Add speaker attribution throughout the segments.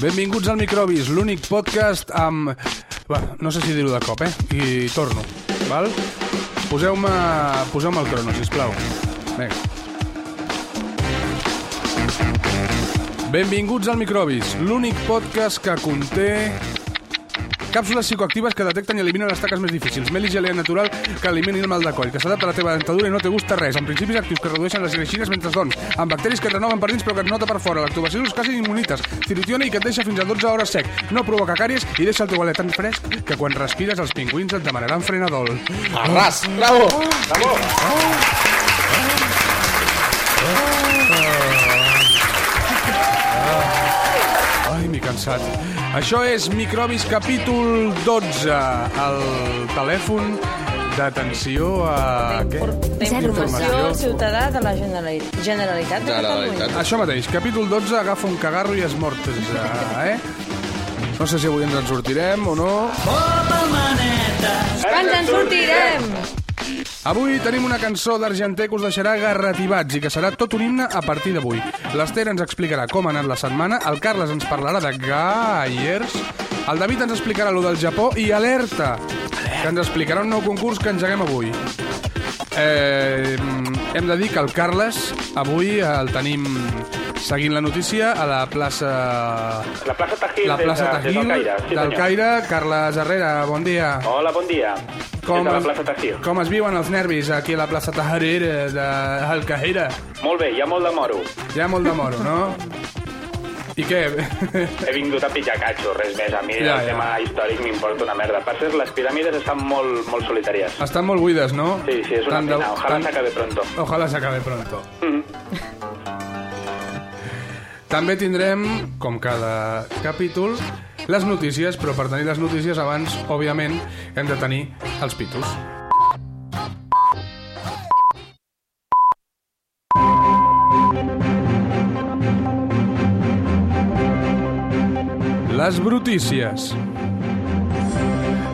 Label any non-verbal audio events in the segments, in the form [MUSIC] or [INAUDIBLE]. Speaker 1: Benvinguts al Microbis, l'únic podcast amb... Bé, no sé si dir-ho de cop, eh? I torno, val? Poseu-me poseu el crono, sisplau. Vinga. Benvinguts al Microbis, l'únic podcast que conté Càpsules psicoactives que detecten i eliminen les taques més difícils. Mel i gelea natural que eliminin el mal de coll, que s'adapta a la teva dentadura i no te gusta res. En principis actius que redueixen les greixines mentre dorms. Amb bacteris que et renoven per dins però que et nota per fora. Lactobacillus quasi immunites. Cirutiona i que et deixa fins a 12 hores sec. No provoca càries i deixa el teu alet tan fresc que quan respires els pingüins et demanaran frenadol.
Speaker 2: Arras, bravo! Bravo!
Speaker 1: Ai, m'he cansat. Això és Microbis capítol 12. El telèfon d'atenció a... Ah, Què?
Speaker 3: Informació ciutadà de la Generalitat, Generalitat de Catalunya.
Speaker 1: Això mateix, capítol 12, agafa un cagarro i es mort, eh? No sé si avui ens en sortirem o no.
Speaker 3: Quants en sortirem?
Speaker 1: Avui tenim una cançó d'Argenter que us deixarà garrativats i que serà tot un himne a partir d'avui. L'Ester ens explicarà com ha anat la setmana, el Carles ens parlarà de Gaiers, el David ens explicarà lo del Japó i Alerta, que ens explicarà un nou concurs que engeguem avui. Eh, hem de dir que el Carles avui el tenim seguint la notícia a la plaça...
Speaker 4: La plaça Tajil,
Speaker 1: La plaça
Speaker 4: des de,
Speaker 1: Tajil
Speaker 4: des del Caire. Sí,
Speaker 1: del
Speaker 4: senyor.
Speaker 1: Caire. Carles Herrera, bon dia.
Speaker 4: Hola, bon dia. des de la plaça Tajil.
Speaker 1: com es viuen els nervis aquí a la plaça Tajarera de Alcajera?
Speaker 4: Molt bé, hi ha molt de moro.
Speaker 1: Hi ha molt de moro, no? I què? [LAUGHS]
Speaker 4: He vingut a pitjar catxo, res més. A mi
Speaker 1: Ja,
Speaker 4: el
Speaker 1: ja.
Speaker 4: tema històric m'importa una merda. Per cert, les piràmides estan molt, molt solitàries.
Speaker 1: Estan molt buides, no?
Speaker 4: Sí, sí, és una
Speaker 1: Tant de-
Speaker 4: pena. Ojalá
Speaker 1: tant-
Speaker 4: s'acabe pronto.
Speaker 1: Ojalá s'acabe pronto. També tindrem, com cada capítol, les notícies, però per tenir les notícies abans, òbviament, hem de tenir els pitos. Les brutícies.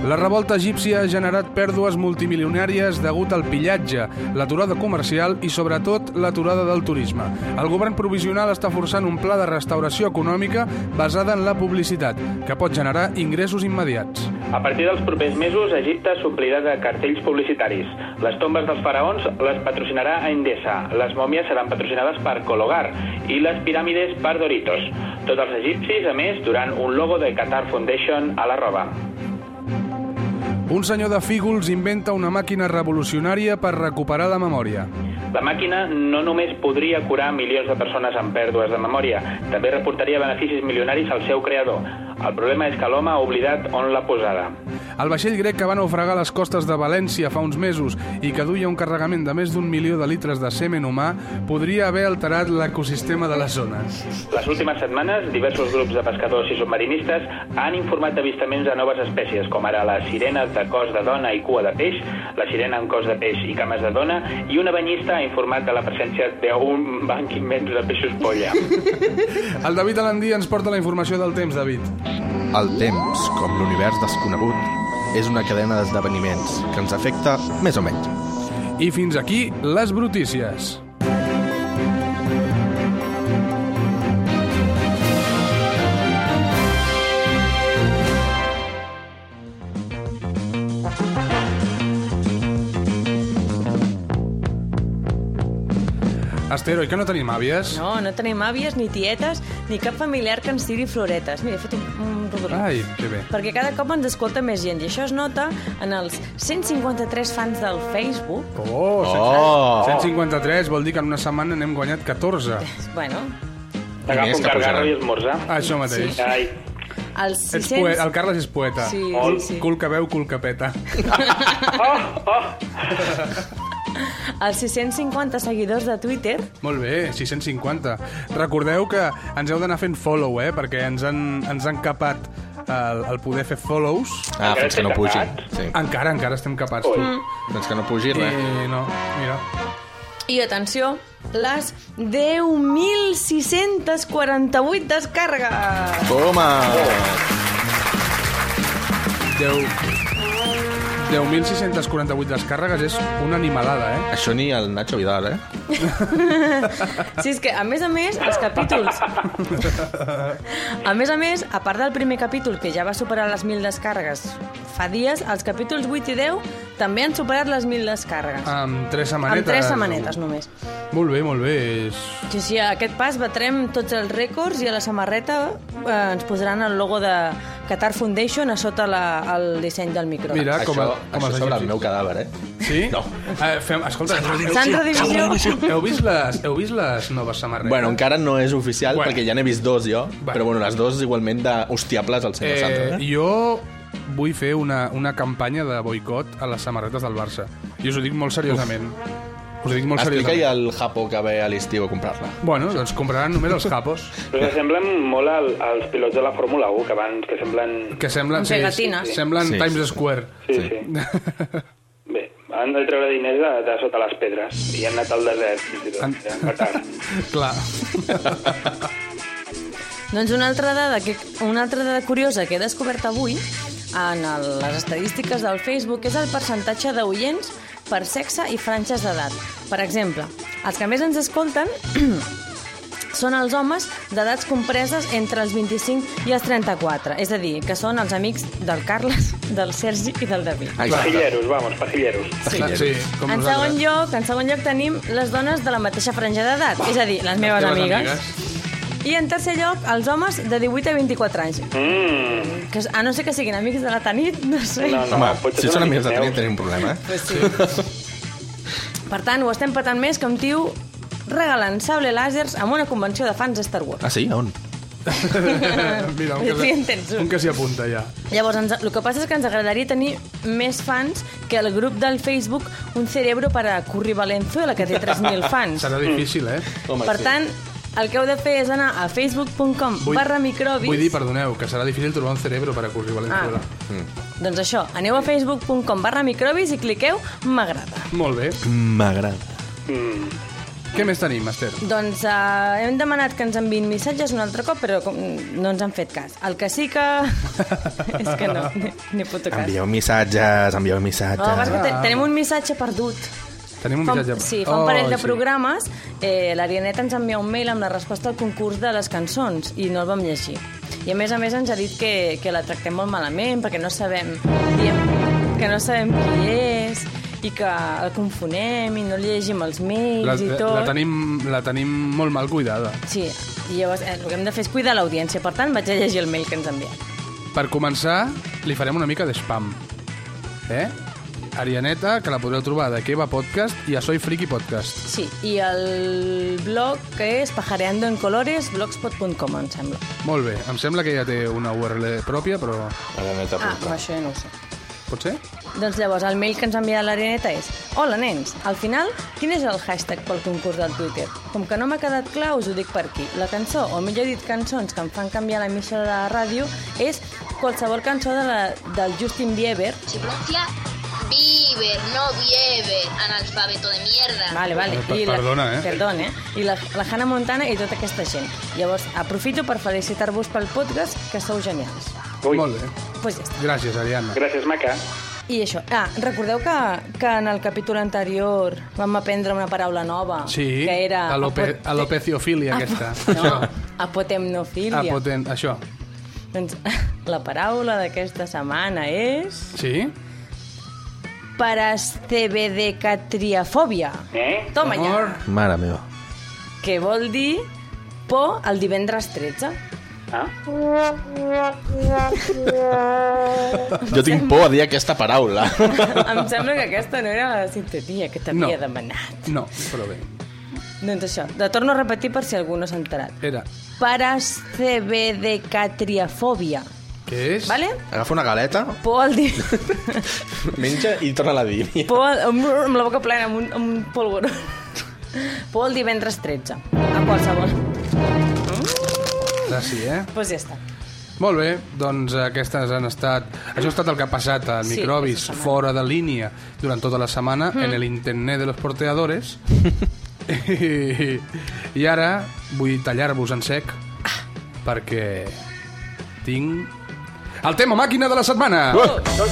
Speaker 1: La revolta egípcia ha generat pèrdues multimilionàries degut al pillatge, l'aturada comercial i, sobretot, l'aturada del turisme. El govern provisional està forçant un pla de restauració econòmica basada en la publicitat, que pot generar ingressos immediats.
Speaker 4: A partir dels propers mesos, Egipte s'omplirà de cartells publicitaris. Les tombes dels faraons les patrocinarà a Endesa, les mòmies seran patrocinades per Cologar i les piràmides per Doritos. Tots els egipcis, a més, duran un logo de Qatar Foundation a la roba.
Speaker 1: Un senyor de Fígols inventa una màquina revolucionària per recuperar la memòria.
Speaker 4: La màquina no només podria curar milions de persones amb pèrdues de memòria, també reportaria beneficis milionaris al seu creador. El problema és que l'home ha oblidat on l'ha posada.
Speaker 1: El vaixell grec que va naufragar a les costes de València fa uns mesos i que duia un carregament de més d'un milió de litres de semen humà podria haver alterat l'ecosistema de les zones.
Speaker 4: Les últimes setmanes, diversos grups de pescadors i submarinistes han informat d'avistaments de noves espècies, com ara la sirena de cos de dona i cua de peix, la sirena amb cos de peix i cames de dona, i una banyista ha informat de la presència d'un banc immens de peixos polla.
Speaker 1: El David Alandí ens porta la informació del temps, David.
Speaker 2: El temps, com l'univers desconegut, és una cadena d'esdeveniments que ens afecta més o menys.
Speaker 1: I fins aquí les brutícies. Esther, oi que no tenim àvies?
Speaker 3: No, no tenim àvies, ni tietes, ni cap familiar que ens tiri floretes. Mira, he fet un, un rodolí.
Speaker 1: Ai, que bé.
Speaker 3: Perquè cada cop ens escolta més gent i això es nota en els 153 fans del Facebook.
Speaker 1: Oh,
Speaker 2: Oh!
Speaker 1: 153 vol dir que en una setmana n'hem guanyat 14.
Speaker 3: Bueno,
Speaker 4: T'agafo
Speaker 2: Diners
Speaker 4: un
Speaker 2: que posaran.
Speaker 4: cargarro i esmorzar.
Speaker 1: Això mateix.
Speaker 4: Ai,
Speaker 3: Els
Speaker 1: Ets
Speaker 3: 600...
Speaker 1: poeta, el Carles és poeta.
Speaker 3: Sí,
Speaker 4: Ol-
Speaker 3: sí, sí.
Speaker 1: Cul que veu, cul que peta.
Speaker 4: Oh, oh!
Speaker 3: Els 650 seguidors de Twitter
Speaker 1: Molt bé, 650. Recordeu que ens heu d'anar fent follow, eh? Perquè ens han, ens han capat el, el poder fer follows.
Speaker 2: Ah,
Speaker 4: Encara
Speaker 2: fins que no
Speaker 4: estem
Speaker 2: pugin.
Speaker 4: casats?
Speaker 2: Sí.
Speaker 1: Encara, encara estem capats.
Speaker 4: Ui.
Speaker 1: tu.
Speaker 2: Fins que no pugi res.
Speaker 1: I no, mira.
Speaker 3: i, atenció, les 10.648 descàrregues.
Speaker 2: Toma!
Speaker 1: Oh. 10... 10.648 descàrregues és una animalada, eh?
Speaker 2: Això ni el Nacho Vidal, eh?
Speaker 3: Sí, és que, a més a més, els capítols... A més a més, a part del primer capítol, que ja va superar les 1.000 descàrregues fa dies, els capítols 8 i 10 també han superat les 1.000 descàrregues.
Speaker 1: Amb tres setmanetes.
Speaker 3: Amb tres setmanetes, només.
Speaker 1: Molt bé, molt bé. És...
Speaker 3: Sí, sí, a aquest pas batrem tots els rècords i a la samarreta eh, ens posaran el logo de Qatar Foundation a sota la, el disseny del micro.
Speaker 1: Mira,
Speaker 2: Això,
Speaker 1: com a, com els
Speaker 2: això sobre
Speaker 1: egipcis.
Speaker 2: el meu cadàver, eh?
Speaker 1: Sí?
Speaker 2: No.
Speaker 1: Eh, fem, escolta,
Speaker 3: Sandra Divisió.
Speaker 1: heu vist les, heu vist les noves samarretes?
Speaker 2: Bueno, encara no és oficial,
Speaker 1: Bueno.
Speaker 2: perquè ja n'he vist dos jo,
Speaker 1: Bueno.
Speaker 2: però bueno, les dos igualment d'hostiables al senyor
Speaker 1: eh,
Speaker 2: Sandra.
Speaker 1: jo vull fer una, una campanya de boicot a les samarretes del Barça. I us ho dic molt seriosament. Us ho dic molt
Speaker 2: Explica-hi
Speaker 1: seriosament.
Speaker 2: al Japó que ve a l'estiu a comprar-la.
Speaker 1: Bueno, doncs compraran només els capos,
Speaker 4: Us semblen molt al, als pilots de la Fórmula 1, que abans que semblen...
Speaker 1: que semblen...
Speaker 3: Amb pegatines.
Speaker 1: semblen
Speaker 2: Sí,
Speaker 1: Times
Speaker 2: sí.
Speaker 1: Square.
Speaker 4: Sí,
Speaker 2: Sí.
Speaker 4: sí. Bé, han de treure diners de, de sota les pedres i han anat al desert, fins i tot.
Speaker 1: Han-
Speaker 4: Ja, per tant,
Speaker 1: Clar.
Speaker 3: Doncs una altra dada, que, una altra dada curiosa que he descobert avui en el, les estadístiques del Facebook és el percentatge d'oients per sexe i franges d'edat. Per exemple, els que més ens escolten [CLEARS THROAT] són els homes d'edats compreses entre els 25 i els 34, és a dir, que són els amics del Carles, [LAUGHS] del Sergi i del David.
Speaker 4: pajilleros, vamos, pajilleros.
Speaker 1: Sí, sí com
Speaker 3: En
Speaker 1: nosaltres.
Speaker 3: segon, lloc, en segon lloc tenim les dones de la mateixa franja d'edat, és a dir, les meves
Speaker 1: teves
Speaker 3: amigues.
Speaker 1: amigues. [LAUGHS]
Speaker 3: I en tercer lloc, els homes de 18 a 24 anys,
Speaker 4: Mm,
Speaker 3: que a no ser que siguin amics de la Tanit, [LAUGHS] no sé.
Speaker 4: no, no,
Speaker 2: Home,
Speaker 4: potser
Speaker 2: si
Speaker 4: són
Speaker 2: són amics de
Speaker 4: meus.
Speaker 2: tenir, tenim un problema, eh?
Speaker 3: Pues sí. per tant, ho estem patant més que un tio regalant sable làsers amb una convenció de fans de Star Wars.
Speaker 2: Ah, sí? On?
Speaker 1: Mira, un
Speaker 3: [LAUGHS] Sí,
Speaker 1: que, s'hi-
Speaker 3: en tens un.
Speaker 1: un que s'hi apunta ja.
Speaker 3: Llavors, ens, el que passa és que ens agradaria tenir més fans que el grup del Facebook Un Cerebro per a Curry Valenzuela, que té 3.000 fans.
Speaker 1: Serà difícil, eh?
Speaker 2: Home,
Speaker 3: Per
Speaker 2: sí.
Speaker 3: tant, el que heu de fer és anar a facebook.com
Speaker 1: Vull-
Speaker 3: barra microbis.
Speaker 1: Vull dir, perdoneu, que serà difícil trobar un cerebro per acudir Valenzuela. Ah.
Speaker 3: Doncs això, aneu a facebook.com barra microbis i cliqueu M'agrada.
Speaker 1: Molt bé.
Speaker 2: M'agrada.
Speaker 4: Mm.
Speaker 1: Què més tenim, Esther?
Speaker 3: Doncs eh, hem demanat que ens enviïn missatges un altre cop, però com, no ens han fet cas. El que sí
Speaker 1: [LAUGHS]
Speaker 3: que... és que no, ni, ni puto cas.
Speaker 2: Envieu missatges, envieu
Speaker 3: No, vas
Speaker 2: missatges.
Speaker 3: que te, tenim un missatge perdut.
Speaker 1: Ah. Tenim un
Speaker 3: Fa,
Speaker 1: missatge...
Speaker 3: sí, fa un parell
Speaker 1: Oh,
Speaker 3: de
Speaker 1: sí.
Speaker 3: programes eh, l'Arianeta ens envia un mail amb la resposta al concurs de les cançons i no el vam llegir. I a més a més ens ha dit que, que la tractem molt malament perquè no sabem, diem, que no sabem qui és i que el confonem i no li llegim els mails
Speaker 1: La,
Speaker 3: i
Speaker 1: la,
Speaker 3: tot.
Speaker 1: la, tenim, la tenim molt mal cuidada.
Speaker 3: Sí, i llavors eh, el que hem de fer és cuidar l'audiència. Per tant, vaig a llegir el mail que ens ha enviat.
Speaker 1: Per començar, li farem una mica de spam. Eh? Arianeta, que la podreu trobar de Keva Podcast i a Soy Friki Podcast.
Speaker 3: Sí, i el blog que és pajareandoencolores.blogspot.com, em sembla.
Speaker 1: Molt bé, em sembla que ja té una URL pròpia, però
Speaker 3: Ah, amb això ja no ho sé.
Speaker 1: pot ser?
Speaker 3: Doncs llavors el mail que ens ha enviat l'Areneta és Hola, nens, al final, quin és el hashtag pel concurs del Twitter? Com que no m'ha quedat clar, us ho dic per aquí. La cançó, o millor dit cançons que em fan canviar la missa de la ràdio, és qualsevol cançó de la, del Justin Bieber.
Speaker 5: Se pronuncia Bieber, no Bieber, analfabeto de mierda.
Speaker 3: Vale, vale.
Speaker 1: Per- perdona, eh?
Speaker 3: Perdona, eh? I la, la Hannah Montana i tota aquesta gent. Llavors, aprofito per felicitar-vos pel podcast, que sou genials.
Speaker 4: Ui,
Speaker 1: Molt bé.
Speaker 3: Pues ja està.
Speaker 1: Gràcies, Ariadna.
Speaker 4: gràcies, maca.
Speaker 3: I això. Ah, recordeu que, que en el capítol anterior vam aprendre una paraula nova.
Speaker 1: Sí,
Speaker 3: que era...
Speaker 1: alope,
Speaker 3: apo-
Speaker 1: alopeciofília, aquesta.
Speaker 3: No,
Speaker 1: Això.
Speaker 3: apotemnofília.
Speaker 1: Apotent, això.
Speaker 3: Doncs [LAUGHS] la paraula d'aquesta setmana és...
Speaker 1: Sí?
Speaker 3: Parascebedecatriafòbia.
Speaker 4: Eh?
Speaker 3: Toma ja.
Speaker 1: Amor.
Speaker 2: Mare meva.
Speaker 3: Que vol dir por el divendres 13.
Speaker 4: Ah?
Speaker 2: Jo tinc por a dir aquesta paraula.
Speaker 3: [LAUGHS] em sembla que aquesta no era la sintonia que t'havia
Speaker 1: No.
Speaker 3: no. demanat.
Speaker 1: No, però bé.
Speaker 3: Doncs això, la torno a repetir per si algú no s'ha enterat.
Speaker 1: Era
Speaker 3: Parascebedecatriafòbia.
Speaker 1: Què és?
Speaker 3: Vale?
Speaker 2: [LAUGHS] Agafa una galeta,
Speaker 3: Por al
Speaker 1: [LAUGHS]
Speaker 3: di...
Speaker 2: menja i torna a dir.
Speaker 3: Por al... amb- amb la boca plena, amb un, amb un polvoró. Por al divendres 13. A qualsevol.
Speaker 1: Ara sí, eh?
Speaker 3: Doncs pues ja està.
Speaker 1: Molt bé, doncs aquestes han estat... Això ha estat el que ha passat a
Speaker 3: Sí,
Speaker 1: Microbis
Speaker 3: aquesta setmana. Mm.
Speaker 1: fora de línia durant tota la setmana en el internet de los porteadores. [LAUGHS] I, I ara vull tallar-vos en sec perquè tinc... El tema màquina de la setmana!
Speaker 3: Oh.
Speaker 2: Uh!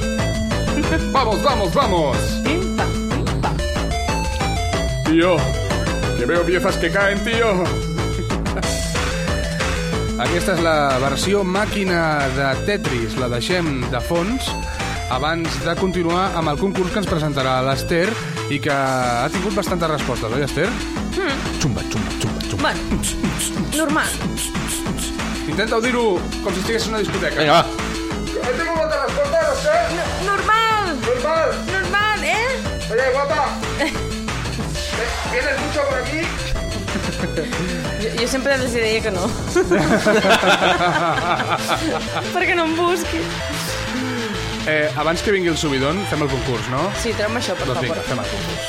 Speaker 1: [LAUGHS] Vamos, vamos, vamos!
Speaker 3: Pim, pam, pim, pam.
Speaker 1: Tío, que veo piezas que caen, tío. Aquesta és la versió màquina de Tetris, la deixem de fons abans de continuar amb el concurs que ens presentarà l'Ester i que ha tingut bastantes respostes, oi, Esther?
Speaker 2: Xumba, xumba, xumba, xumba.
Speaker 3: Bueno, normal.
Speaker 1: Intenta dir-ho com si estigués en una discoteca.
Speaker 2: Vinga, va.
Speaker 1: He tingut moltes respostes, Esther!
Speaker 3: Normal!
Speaker 1: Normal!
Speaker 3: Normal, eh?
Speaker 1: Oye, [LAUGHS] guapa! ¿Tienes mucho por aquí?
Speaker 3: Jo, jo sempre els deia que
Speaker 1: [LAUGHS]
Speaker 3: no. Perquè no em busqui.
Speaker 1: Eh, abans que vingui el subidon, fem el concurs, no?
Speaker 3: Sí, treu-me això, per
Speaker 1: Doncs
Speaker 3: favor.
Speaker 1: vinga, fem el concurs.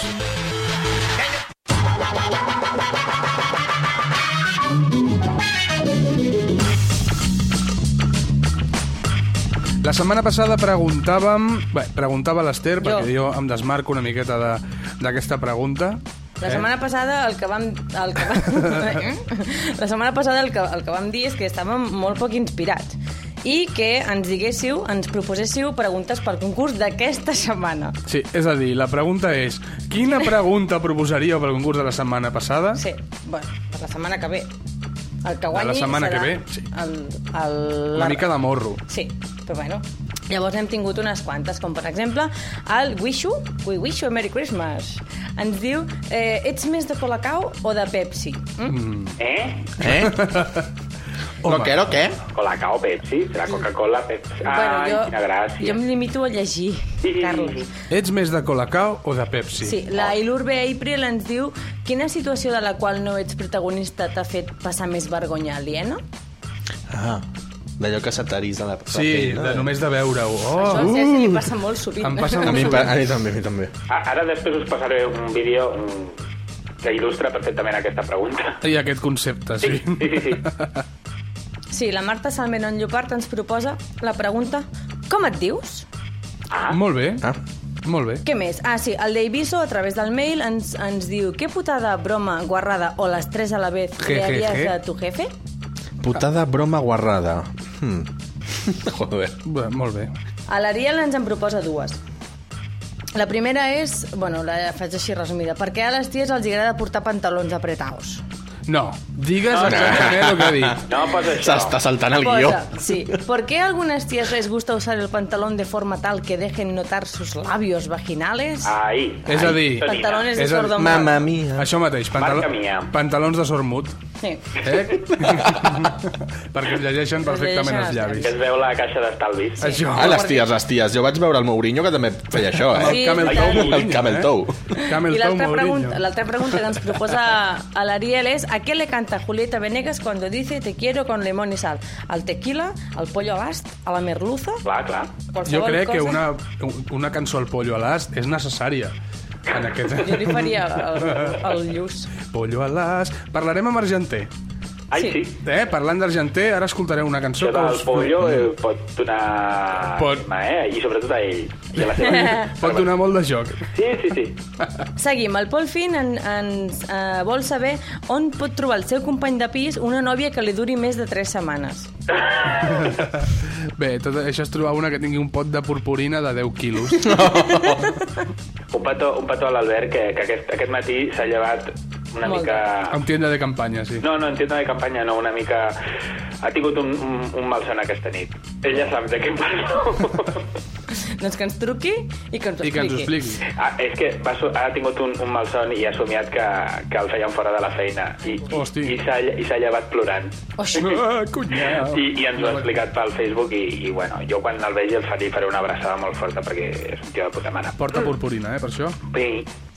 Speaker 1: La setmana passada preguntàvem... Bé, preguntava a l'Ester, perquè jo em desmarco una miqueta de- d'aquesta pregunta.
Speaker 3: La setmana passada el que vam... El que vam [LAUGHS] la setmana passada el que, el que vam dir és que estàvem molt poc inspirats i que ens diguéssiu, ens proposéssiu preguntes pel concurs d'aquesta setmana.
Speaker 1: Sí, és a dir, la pregunta és... Quina pregunta proposaríeu pel concurs de la setmana passada?
Speaker 3: Sí, bueno, per la setmana que ve. El que guanyi
Speaker 1: setmana
Speaker 3: serà
Speaker 1: que ve, sí.
Speaker 3: El, el,
Speaker 1: Una mica de morro.
Speaker 3: Sí, però bueno. Llavors n'hem tingut unes quantes, com per exemple el Wishu, We Wish You a Merry Christmas. Ens diu, eh, ets més de Colacao o de Pepsi? Mm?
Speaker 4: ¿Eh?
Speaker 2: Eh?
Speaker 1: Home.
Speaker 2: Lo quiero, què?
Speaker 4: Colacao, Pepsi, serà Coca-Cola, Pepsi. Ai, quina gràcia.
Speaker 3: jo em limito a llegir,
Speaker 4: Sí, Oh. sí,
Speaker 3: Carles.
Speaker 4: sí.
Speaker 1: Ets més de Colacao o de Pepsi?
Speaker 3: Sí, la Ilurbe April ens diu quina situació de la qual no ets protagonista t'ha fet passar més vergonya aliena?
Speaker 2: Ah, d'allò que se t'arisa la, la
Speaker 1: Sí,
Speaker 2: pell, no?
Speaker 1: de només de veure-ho.
Speaker 3: Això
Speaker 1: Oh,
Speaker 3: uh, ja se li passa molt sovint.
Speaker 1: Em passa
Speaker 2: A mi, a mi també, a mi també.
Speaker 4: A- Ah, Ara després us passaré un vídeo mm, que il·lustra perfectament aquesta pregunta.
Speaker 1: I aquest concepte, sí.
Speaker 4: sí, sí. sí.
Speaker 3: Sí, la Marta Salmeron Llopart ens proposa la pregunta com et dius?
Speaker 1: Molt bé,
Speaker 2: Ah,
Speaker 1: molt bé.
Speaker 3: Què més? Ah, sí, el Daviso, a través del mail, ens, ens diu què putada, broma, guarrada o les tres a la vez
Speaker 1: Je,
Speaker 3: le
Speaker 1: je,
Speaker 3: harías
Speaker 1: je.
Speaker 3: a tu jefe?
Speaker 2: putada broma guarrada. Hmm. [LAUGHS] Joder.
Speaker 1: Bé, molt bé.
Speaker 3: A l'Ariel ens en proposa dues. La primera és... Bueno, la faig així resumida. Per què a les ties els agrada portar pantalons apretaos?
Speaker 1: No, digues
Speaker 4: No, no.
Speaker 1: exactament el que ha dit.
Speaker 4: No, pues això.
Speaker 2: S'està saltant el guió.
Speaker 3: sí. ¿Por qué a algunas tías les gusta usar el pantalón de forma tal que dejen notar sus labios vaginales?
Speaker 4: Ahí.
Speaker 1: És a dir,
Speaker 3: Pantalones de
Speaker 1: és el-
Speaker 3: sordo
Speaker 2: Mamma mia.
Speaker 1: Això mateix,
Speaker 4: Marca mia.
Speaker 1: pantalons de sormut.
Speaker 3: Sí.
Speaker 1: Eh?
Speaker 4: [LAUGHS]
Speaker 1: Perquè es llegeixen perfectament els
Speaker 4: Que
Speaker 1: llavis.
Speaker 4: es veu la caixa d'estalvis.
Speaker 1: Això.
Speaker 2: Ah, les ties, les ties. Jo vaig veure el Mourinho que també feia això,
Speaker 1: Amb
Speaker 2: eh?
Speaker 1: el
Speaker 3: Sí,
Speaker 1: camel
Speaker 3: i
Speaker 1: toe
Speaker 3: tant.
Speaker 1: Mourinho,
Speaker 2: El camel
Speaker 1: eh?
Speaker 2: toe.
Speaker 1: Camel
Speaker 3: I
Speaker 1: toe
Speaker 3: l'altra pregunta,
Speaker 1: Mourinho.
Speaker 3: l'altra pregunta que ens proposa a l'Ariel és a què le canta Julieta Venegas cuando dice te quiero con limón y sal? Al tequila, al pollo abast, a la merluza?
Speaker 4: Clar, clar.
Speaker 3: Qualsevol
Speaker 1: Jo crec
Speaker 3: cosa?
Speaker 1: que una, una cançó al pollo a l'ast és necessària en aquest...
Speaker 3: [LAUGHS] Jo li faria el, el lluç.
Speaker 1: Pollo a l'ast... Parlarem amb Argenter.
Speaker 4: Ai,
Speaker 3: Sí.
Speaker 4: sí.
Speaker 1: Eh, parlant d'Argenter, ara escoltareu una cançó
Speaker 4: Això
Speaker 1: que
Speaker 4: del
Speaker 1: us...
Speaker 4: pollo eh, pot donar...
Speaker 1: Mm. Pot.
Speaker 4: Anima, eh? I sobretot a ell. I a
Speaker 3: [LAUGHS]
Speaker 4: la seva...
Speaker 1: Pot donar molt de joc.
Speaker 4: Sí, sí, sí.
Speaker 3: Seguim. El Pol Fin en, ens eh, vol saber on pot trobar el seu company de pis una nòvia que li duri més de 3 setmanes.
Speaker 1: Bé, tot això és trobar una que tingui un pot de purpurina de 10 quilos.
Speaker 4: Un petó, un petó a l'Albert, que, que aquest, aquest matí s'ha llevat una
Speaker 3: Molt
Speaker 4: mica...
Speaker 1: Amb tienda de campanya, sí.
Speaker 4: No, no, en tienda de campanya no, una mica... Ha tingut un, un, un malson aquesta nit. Ell ja sap de què em
Speaker 3: [LAUGHS]
Speaker 4: parlo.
Speaker 3: Doncs que ens truqui i que ens ho
Speaker 1: I que ens ho expliqui.
Speaker 4: Ah, és que va, so- ha tingut un, un malson i ha somiat que, que el feien fora de la feina i,
Speaker 1: Hosti.
Speaker 4: i, i s'ha lle- i s'ha llevat plorant.
Speaker 3: Oix,
Speaker 1: Ah, cunyau.
Speaker 4: I, I ens ho ha explicat pel Facebook i, i bueno, jo quan el vegi el faré, faré una abraçada molt forta perquè és un tio de puta mare.
Speaker 1: Porta purpurina, eh, per això.
Speaker 4: Sí.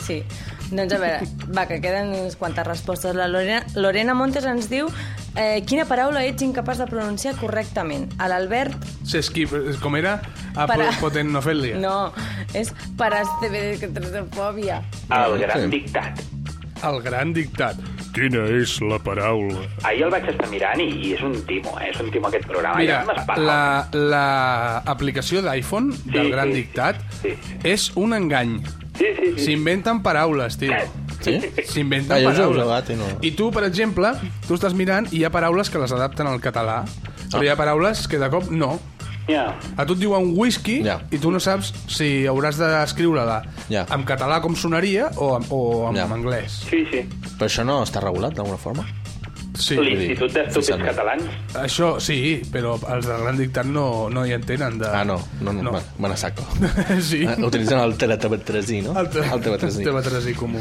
Speaker 3: Sí. Doncs a veure, va, que queden unes quantes respostes. La Lorena, Lorena Montes ens diu Eh, quina paraula ets incapaç de pronunciar correctament? A l'Albert...
Speaker 1: S'esquip... Com era? A
Speaker 3: Para-
Speaker 1: Potenofèlia.
Speaker 3: No, és parastebedecatratofòbia.
Speaker 4: El
Speaker 2: Sí.
Speaker 4: gran dictat.
Speaker 1: El gran dictat.
Speaker 6: Quina és la paraula?
Speaker 4: Ahir el vaig estar mirant i, i és un timo, eh? És un timo aquest programa.
Speaker 1: Mira,
Speaker 4: Ja m'espava.
Speaker 1: la, la aplicació d'iPhone del
Speaker 4: Sí,
Speaker 1: gran
Speaker 4: sí,
Speaker 1: dictat
Speaker 4: sí,
Speaker 1: és un engany.
Speaker 4: Sí, sí, sí.
Speaker 1: S'inventen paraules, tio.
Speaker 2: Sí?
Speaker 1: S'inventen
Speaker 2: Ah, jo us he
Speaker 1: paraules.
Speaker 2: jugat i no-
Speaker 1: I tu, per exemple, tu estàs mirant i hi ha paraules que les adapten al català, però
Speaker 2: Ah.
Speaker 1: hi ha paraules que de cop no.
Speaker 4: Ja.
Speaker 1: A tu et diuen whisky
Speaker 2: Ja.
Speaker 1: i tu no saps si hauràs d'escriure-la
Speaker 2: Ja.
Speaker 1: en català com sonaria o, en- o en
Speaker 2: Ja.
Speaker 1: anglès.
Speaker 4: Sí, sí.
Speaker 2: Però això no està regulat d'alguna forma?
Speaker 1: Sí.
Speaker 4: L'Institut
Speaker 2: Sí, sí.
Speaker 4: d'Estúpids Catalans.
Speaker 1: Això sí, però els del gran dictat no, no hi entenen. De...
Speaker 2: Ah, no, no, no,
Speaker 1: No.
Speaker 2: no. me la saco.
Speaker 1: [LAUGHS] sí.
Speaker 2: Eh, Utilitzen el teletrebatresí, no?
Speaker 1: El, te...
Speaker 2: El teletrebatresí.
Speaker 1: teletresí comú.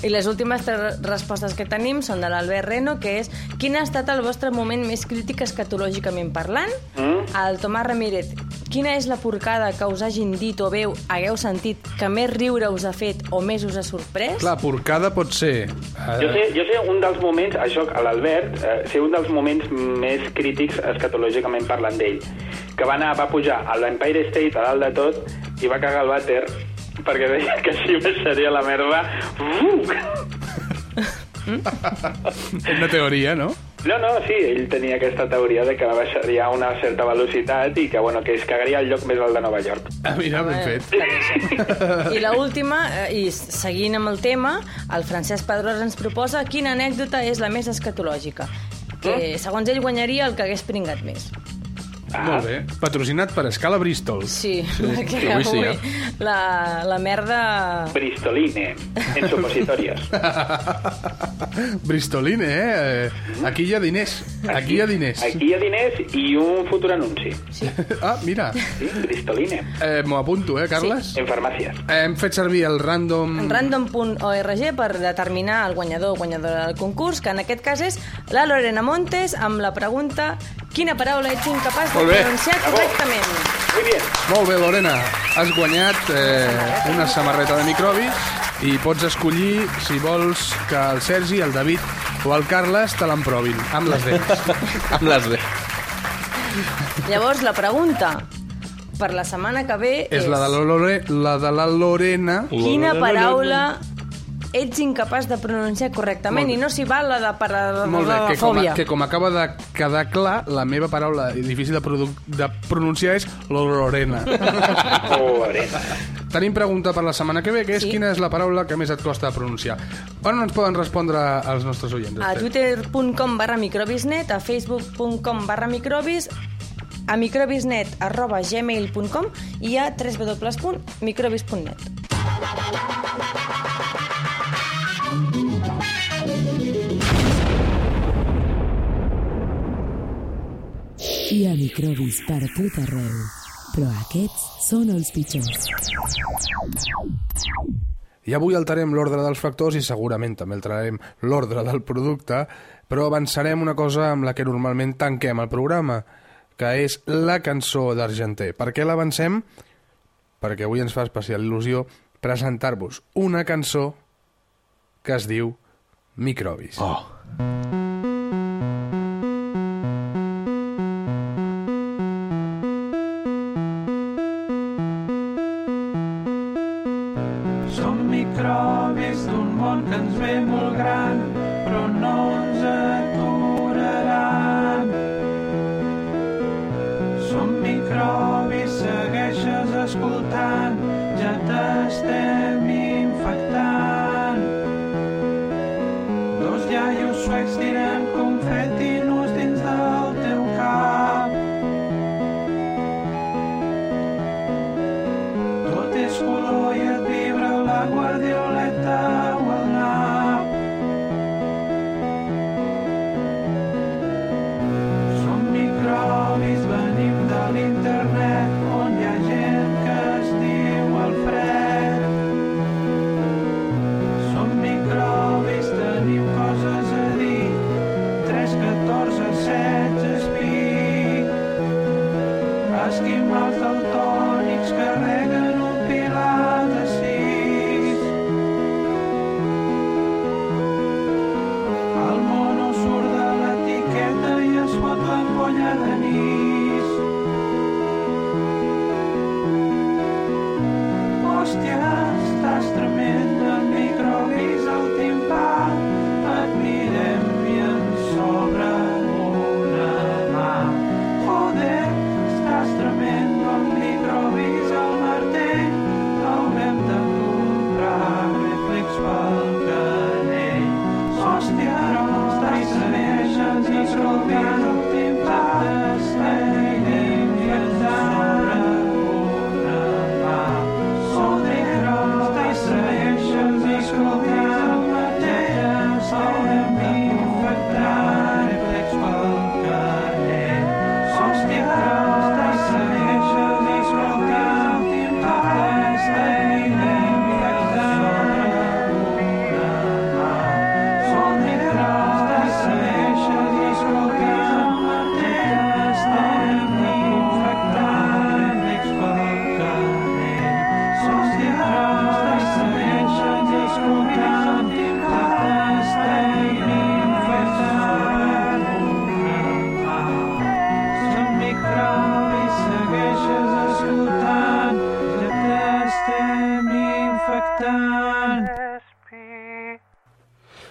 Speaker 3: I les últimes tres respostes que tenim són de l'Albert Reno, que és quin ha estat el vostre moment més crític escatològicament parlant? Mm? El Tomàs Ramírez, quina és la porcada que us hagin dit o veu, hagueu sentit, que més riure us ha fet o més us ha sorprès?
Speaker 1: Clar, porcada pot ser... eh,
Speaker 4: Jo sé, jo sé un dels moments, això, a l'Albert, eh, sé un dels moments més crítics escatològicament parlant d'ell, que va anar, va pujar a l'Empire State a dalt de tot i va cagar el vàter perquè deia que així baixaria la merda. Uf!
Speaker 1: Una teoria, no?
Speaker 4: No, no, sí, ell tenia aquesta teoria de que baixaria a una certa velocitat i que, bueno, que es cagaria al lloc més alt de Nova York.
Speaker 1: Ah, mira, ben fet.
Speaker 3: I la última, eh, i seguint amb el tema, el Francesc Pedrós ens proposa quina anècdota és la més escatològica. Que, segons ell, guanyaria el que hagués pringat més.
Speaker 1: Ah. Molt bé. Patrocinat per Escala Bristol.
Speaker 3: Sí, [LAUGHS] eh? perquè
Speaker 1: avui
Speaker 3: avui,
Speaker 1: sí,
Speaker 3: la, la merda...
Speaker 4: Bristoline, en supositorios.
Speaker 1: [LAUGHS] Bristoline, eh? Eh, Aquí hi ha diners. Aquí hi ha diners.
Speaker 4: Aquí hi ha diners i un futur anunci.
Speaker 1: [LAUGHS] Ah, mira.
Speaker 4: Sí, Bristoline,
Speaker 1: Eh, M'ho apunto, eh, Carles?
Speaker 4: en farmàcies.
Speaker 1: Eh, Hem fet servir el random...
Speaker 3: random.org per determinar el guanyador o guanyadora del concurs, que en aquest cas és la Lorena Montes, amb la pregunta quina paraula ets incapaç de
Speaker 1: Molt bé.
Speaker 3: pronunciar correctament.
Speaker 4: Muy bien.
Speaker 1: Molt bé, Lorena. Has guanyat eh, una samarreta de microbis i pots escollir si vols que el Sergi, el David o el Carles te l'emprovin amb les [LAUGHS] dents.
Speaker 2: Amb les de...
Speaker 3: Llavors, la pregunta per la setmana que ve és...
Speaker 1: És la de la, Lore, la de la Lorena.
Speaker 3: Quina paraula ets incapaç de pronunciar correctament i no s'hi val la de
Speaker 1: Molt bé, que com,
Speaker 3: paradofòbia.
Speaker 1: que com acaba de quedar clar, la meva paraula difícil de, produ- de pronunciar és
Speaker 3: [LAUGHS]
Speaker 1: Lorena.
Speaker 4: Pobreta.
Speaker 1: Tenim pregunta per la setmana que ve, que és
Speaker 3: Sí.
Speaker 1: quina és la paraula que més et costa pronunciar. On ens poden respondre els nostres oients?
Speaker 3: A
Speaker 1: Esther?
Speaker 3: twitter.com barra microbisnet, a facebook.com barra microbis, a microbisnet arroba gmail.com i a www.microbis.net.
Speaker 7: Hi ha microbis per tot arreu, però aquests són els pitjors.
Speaker 1: I avui alterem l'ordre dels factors i segurament també alterarem l'ordre del producte, però avançarem una cosa amb la que normalment tanquem el programa, que és la cançó d'Argenter. Per què l'avancem? Perquè avui ens fa especial il·lusió presentar-vos una cançó que es diu Microbis.
Speaker 2: Oh.
Speaker 8: Som microbis d'un món que ens ve molt gran, però no ens aturaran. Som microbis, segueixes escoltant, ja t'estem infectant. Dos iaios suecs tirant confetinos dins del teu cap. Tot és color i et vibra la guardioleta o el nap. Som microbis, venim de l'internet, on hi ha gent que es diu Alfred. Som microbis, tenim coses a dir, 3, 14, 16, espic. Esquimals daltònics carreguen un pilar de sis. El mono surt de l'etiqueta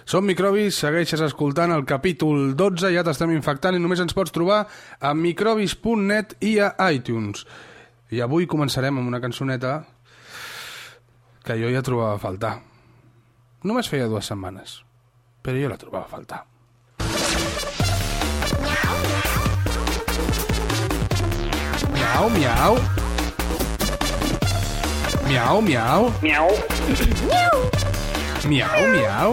Speaker 1: Som microbis, segueixes escoltant el capítol 12, ja t'estem infectant i només ens pots trobar a microbis.net i a iTunes. I avui començarem amb una cançoneta que jo ja trobava a faltar. Només feia dues setmanes, però jo la trobava a faltar. Miau, miau. Miau, miau.
Speaker 4: Miau.
Speaker 1: Miau, miau.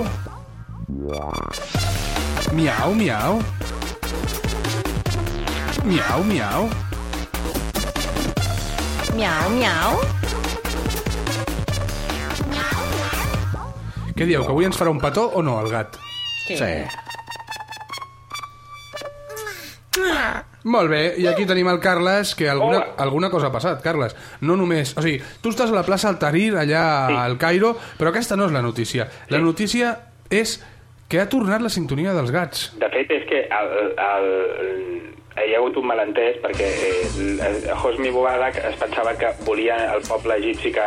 Speaker 1: Miau, miau. Miau, miau.
Speaker 3: Miau, miau.
Speaker 1: Què dieu, que avui ens farà un petó o no, el gat?
Speaker 3: Sí.
Speaker 1: Molt bé, i aquí tenim el Carles, que alguna,
Speaker 4: Hola.
Speaker 1: alguna cosa ha passat, Carles. No només... O sigui, tu estàs a la plaça Altarir, allà sí. al Cairo, però aquesta no és la notícia. La notícia és que ha tornat la sintonia dels gats.
Speaker 4: De fet, és que el, el, el, hi ha hagut un malentès perquè eh, el- el Hosni Mubarak es pensava que volia el poble egipci que,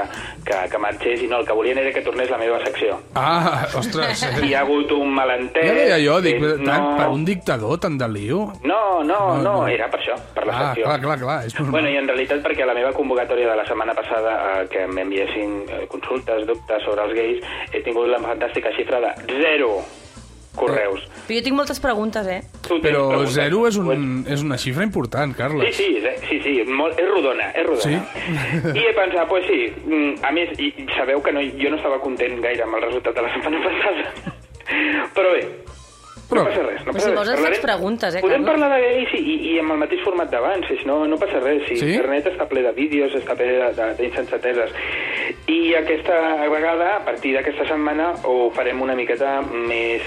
Speaker 4: que, que marxés i no, el que volien era que tornés la meva secció.
Speaker 1: Ah, ostres.
Speaker 4: Hi ha hagut un malentès...
Speaker 1: Ja veia jo, dic,
Speaker 4: eh,
Speaker 1: tant, per un dictador, tant de lío.
Speaker 4: No, no,
Speaker 1: No,
Speaker 4: no,
Speaker 1: no.
Speaker 4: era per això, per la
Speaker 1: Ah,
Speaker 4: secció.
Speaker 1: clar, clar, clar, és normal.
Speaker 4: Bueno, i en realitat perquè la meva convocatòria de la setmana passada eh, que m'enviessin eh, consultes, dubtes sobre els gais, he tingut la fantàstica xifra de zero correus.
Speaker 3: Però jo tinc moltes preguntes, eh?
Speaker 4: Tu tens
Speaker 1: Però
Speaker 4: preguntes?
Speaker 1: zero és,
Speaker 4: Pues-
Speaker 1: un, és una xifra important,
Speaker 4: Sí,
Speaker 1: Carles.
Speaker 4: sí, és- sí, sí, molt, és rodona, és rodona.
Speaker 1: Sí?
Speaker 4: I he pensat, pues sí, mm, a més, i, i sabeu que no, jo no estava content gaire amb el resultat de la setmana [LAUGHS] passada. Però bé,
Speaker 1: Però-
Speaker 4: no passa res. No
Speaker 3: Però
Speaker 4: passa
Speaker 3: si
Speaker 4: res.
Speaker 3: poses les
Speaker 4: Parlarem-
Speaker 3: preguntes, eh,
Speaker 4: Podem
Speaker 3: Carles?
Speaker 4: parlar de gais i, i, i amb el mateix format d'abans, si no, no passa res. Si
Speaker 1: Sí?
Speaker 4: internet està ple de vídeos, està ple de- de- d'insensateses. I aquesta vegada, a partir d'aquesta setmana, ho farem una miqueta més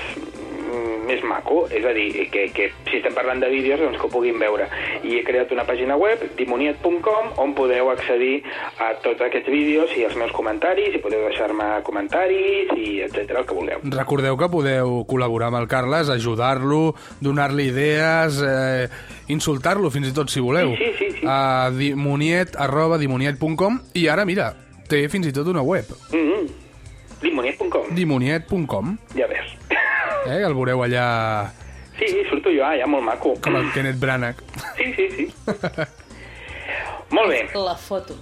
Speaker 4: mm, més maco, és a dir, que, que si estem parlant de vídeos, doncs que ho puguin veure. I he creat una pàgina web, dimoniet.com, on podeu accedir a tots aquests vídeos i els meus comentaris, i podeu deixar-me comentaris, i etc el que vulgueu.
Speaker 1: Recordeu que podeu col·laborar amb el Carles, ajudar-lo, donar-li idees, eh, insultar-lo fins i tot si voleu.
Speaker 4: Sí, sí, sí, sí.
Speaker 1: A dimoniet, arroba dimoniet.com i ara, mira, té fins i tot una web,
Speaker 4: Mm -hmm. Dimoniet.com,
Speaker 1: dimoniet.com,
Speaker 4: ja veus. [LAUGHS]
Speaker 1: eh, el veureu allà
Speaker 4: Sí, sí, surto jo, ah, ja molt maco.
Speaker 1: com el Kenneth Branagh.
Speaker 4: Sí,
Speaker 1: [LAUGHS]
Speaker 4: sí, sí. molt bé,
Speaker 3: La foto.